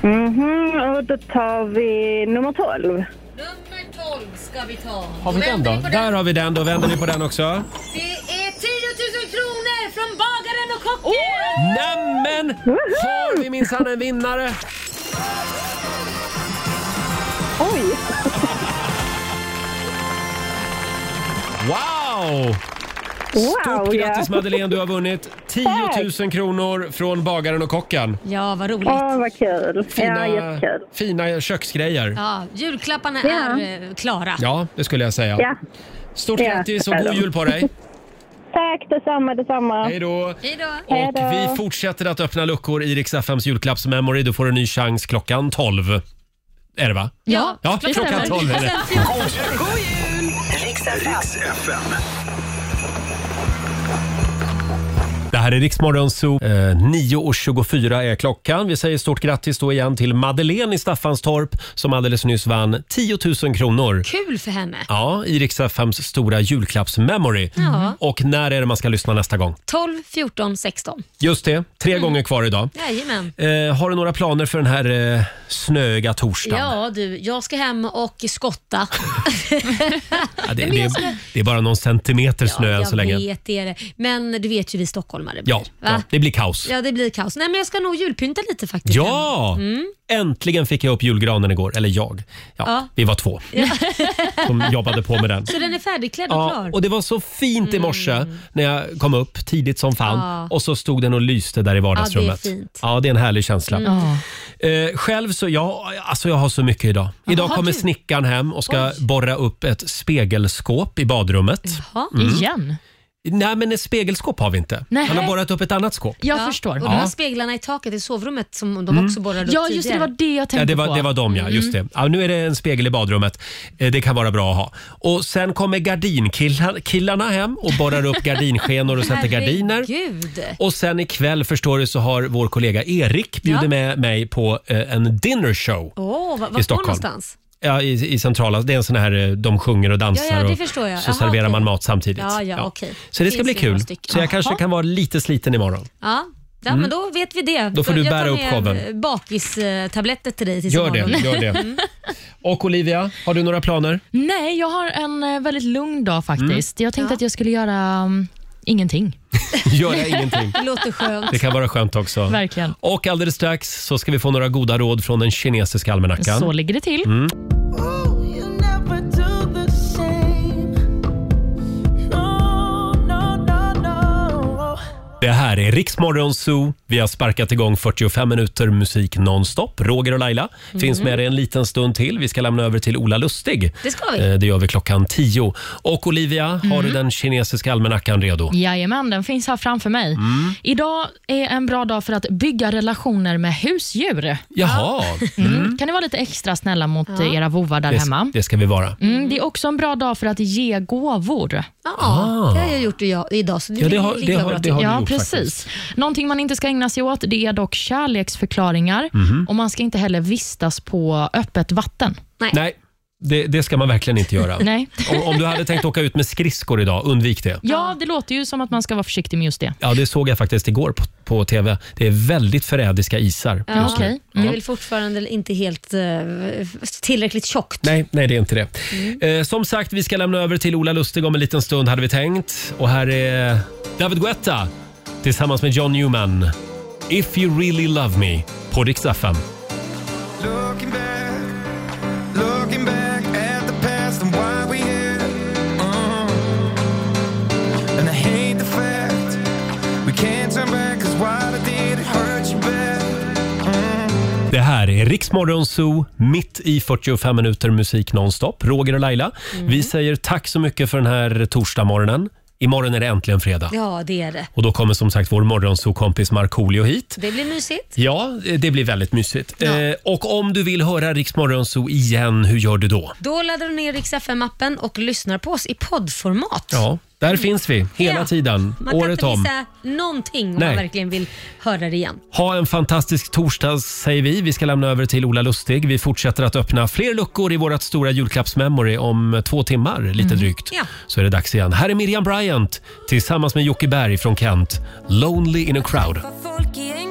Mhm, och då tar vi nummer 12. Nummer 12 ska vi ta. Har vi den då? Där har vi den. Då vänder vi på den också. Det är 10 000 kronor från bagaren och kocken! Nämen! Har vi minsann en vinnare! Oj! Wow! Wow, Stort grattis ja. Madeleine, du har vunnit 10 000 kronor från bagaren och kocken. Ja, vad roligt. Åh, vad kul. Ja, Fina, jättekul. fina köksgrejer. Ja. Ja, julklapparna Ja. är eh, klara. det skulle jag säga. Ja. Stort Ja, grattis och det är god de. jul på dig! Tack detsamma, detsamma. Hej då! Hej då! Hej Och då. vi fortsätter att öppna luckor i Rix FMs julklappsmemory. Du får en ny chans klockan 12. Är det va? Ja, Ja, klockan 12 är det. God jul! Riks FM. Det här är Riksmorgon Zoo. Eh, 9.24 är klockan. Vi säger stort grattis då igen till Madeleine i Staffanstorp som alldeles nyss vann 10 000 kronor. Kul för henne. Ja, i Rix FMs stora julklappsmemory. Ja. Och när är det man ska lyssna nästa gång? 12, 14, 16. Just det, tre Mm. gånger kvar idag. Jajamän. Eh, har du några planer för den här eh, snöiga torsdagen? Ja du, jag ska hem och skotta. Ja, det, men det, jag ska- det är bara någon centimeter snö än så länge. Jag vet det är det. Men du vet ju vi stockholmare blir. Ja, ja, va? det blir kaos. Ja, det blir kaos. Nej, men jag ska nog julpynta lite faktiskt. Ja! Mm. Äntligen fick jag upp julgranen igår. Eller jag. Ja, Ja. Vi var två som jobbade på med den. Så den är färdigklädd och Ja, klar? och det var så fint i morse när jag kom upp tidigt som fan Mm. Ja. och så stod den och lyste där i vardagsrummet. Ja, det är fint. Ja, det är en härlig känsla. Mm. Ja. Eh, själv så, ja, alltså jag har så mycket idag. Idag har kommer du? snickaren hem och ska Oj. borra upp ett spegelskåp i badrummet. Jaha. Mm. Igen? Nej, men ett spegelskåp har vi inte. Nej. Han har borrat upp ett annat skåp. Ja, Och de här speglarna i taket i sovrummet som de Mm. också borrade upp Ja, just det, det var det jag Ja, det, var, det var de Mm. ja, just det. Ja, nu är det en spegel i badrummet. Eh, Det kan vara bra att ha. Och Sen kommer gardinkillarna hem och borrar upp gardinskenor och sätter gardiner. Herregud. Och sen ikväll förstår du så har vår kollega Erik bjudit Ja. med mig på eh, en dinner show. Åh, oh, vart I var Stockholm. någonstans? Ja, i, I centrala, det är en sån här eh, de sjunger och dansar Ja, ja, det och förstår jag. så Jaha, serverar man okej. mat samtidigt. Ja, ja, okej. Så det ska Finns bli det några kul. stycken? Så jag kanske Jaha. kan vara lite sliten imorgon. Ja. Ja, Mm. men då vet vi det. Då får du jag tar bära upp med showen. bakistabletter till dig tills Gör imorgon. det, gör det. Mm. Och Olivia, har du några planer? Nej, jag har en eh, väldigt lugn Mm. dag faktiskt. Jag tänkte att jag skulle göra um, ingenting. Gör jag ingenting. Det låter skönt. Det kan vara skönt också. Verkligen. Och alldeles strax så ska vi få några goda råd från den kinesiska almanackan. Så ligger det till. Mm. Det här är Riksmorgon Zoo. Vi har sparkat igång 45 minuter musik nonstop. Roger och Laila finns med dig en liten stund till. Vi ska lämna över till Ola Lustig. Mhm. Det ska vi. Mm. Eh, Det gör vi klockan 10. Och Olivia, har du den kinesiska almanackan redo? Jajamän, den finns här framför mig. Mm. Idag är en bra dag för att bygga relationer med husdjur. Jaha. Mm. Kan ni vara lite extra snälla mot eh, era vovvar där Det, hemma? det ska vi vara. Mm, det är också en bra dag för att ge gåvor. Ja, Ah. det har jag gjort idag. Så det Ja, det har- ligger det har- bra det har till. du ja, gjort precis. Någonting man inte ska ägna sig åt det är dock kärleksförklaringar Mhm. och man ska inte heller vistas på öppet vatten. Nej. Det, det ska man verkligen inte göra. Nej. Om, om du hade tänkt åka ut med skridskor idag, undvik det. Ja, det låter ju som att man ska vara försiktig med just det. Ja, det såg jag faktiskt igår på, på TV. Det är väldigt förrädiska isar Ja, just nu. okej. Det är Ja. väl fortfarande inte helt eh, tillräckligt tjockt. Nej, nej, det är inte det. Mm. Eh, som sagt, vi ska lämna över till Ola Lustig om en liten stund hade vi tänkt. Och här är David Guetta tillsammans med John Newman. If you really love me på Rix FM. Looking back, looking back at the past and why we here. Uh-huh. And I hate the fact we can't turn back because what I did it hurt you bad. Det här är Riksmorgon Zoo, mitt i 45 minuter musik nonstop. Roger och Laila, Mm. vi säger tack så mycket för den här torsdagmorgonen. Imorgon är det äntligen fredag. Ja, det är det. Och då kommer som sagt vår morgonsokompis Markoolio hit. Det blir mysigt. Ja, det blir väldigt mysigt. Eh, och om du vill höra Riksmorgonso igen, hur gör du då? Då laddar du ner Rix FM-appen och lyssnar på oss i poddformat. Ja, där finns vi hela Mm. Ja. tiden, Man kan året inte om. missa någonting om Nej. man verkligen vill höra det igen. Ha en fantastisk torsdag säger vi. Vi ska lämna över till Ola Lustig. Vi fortsätter att öppna fler luckor i vårt stora julklappsmemory om två timmar lite drygt. Mm. Ja. Så är det dags igen. Här är Miriam Bryant tillsammans med Jocke Berg från Kent. Lonely in a crowd. Folk i en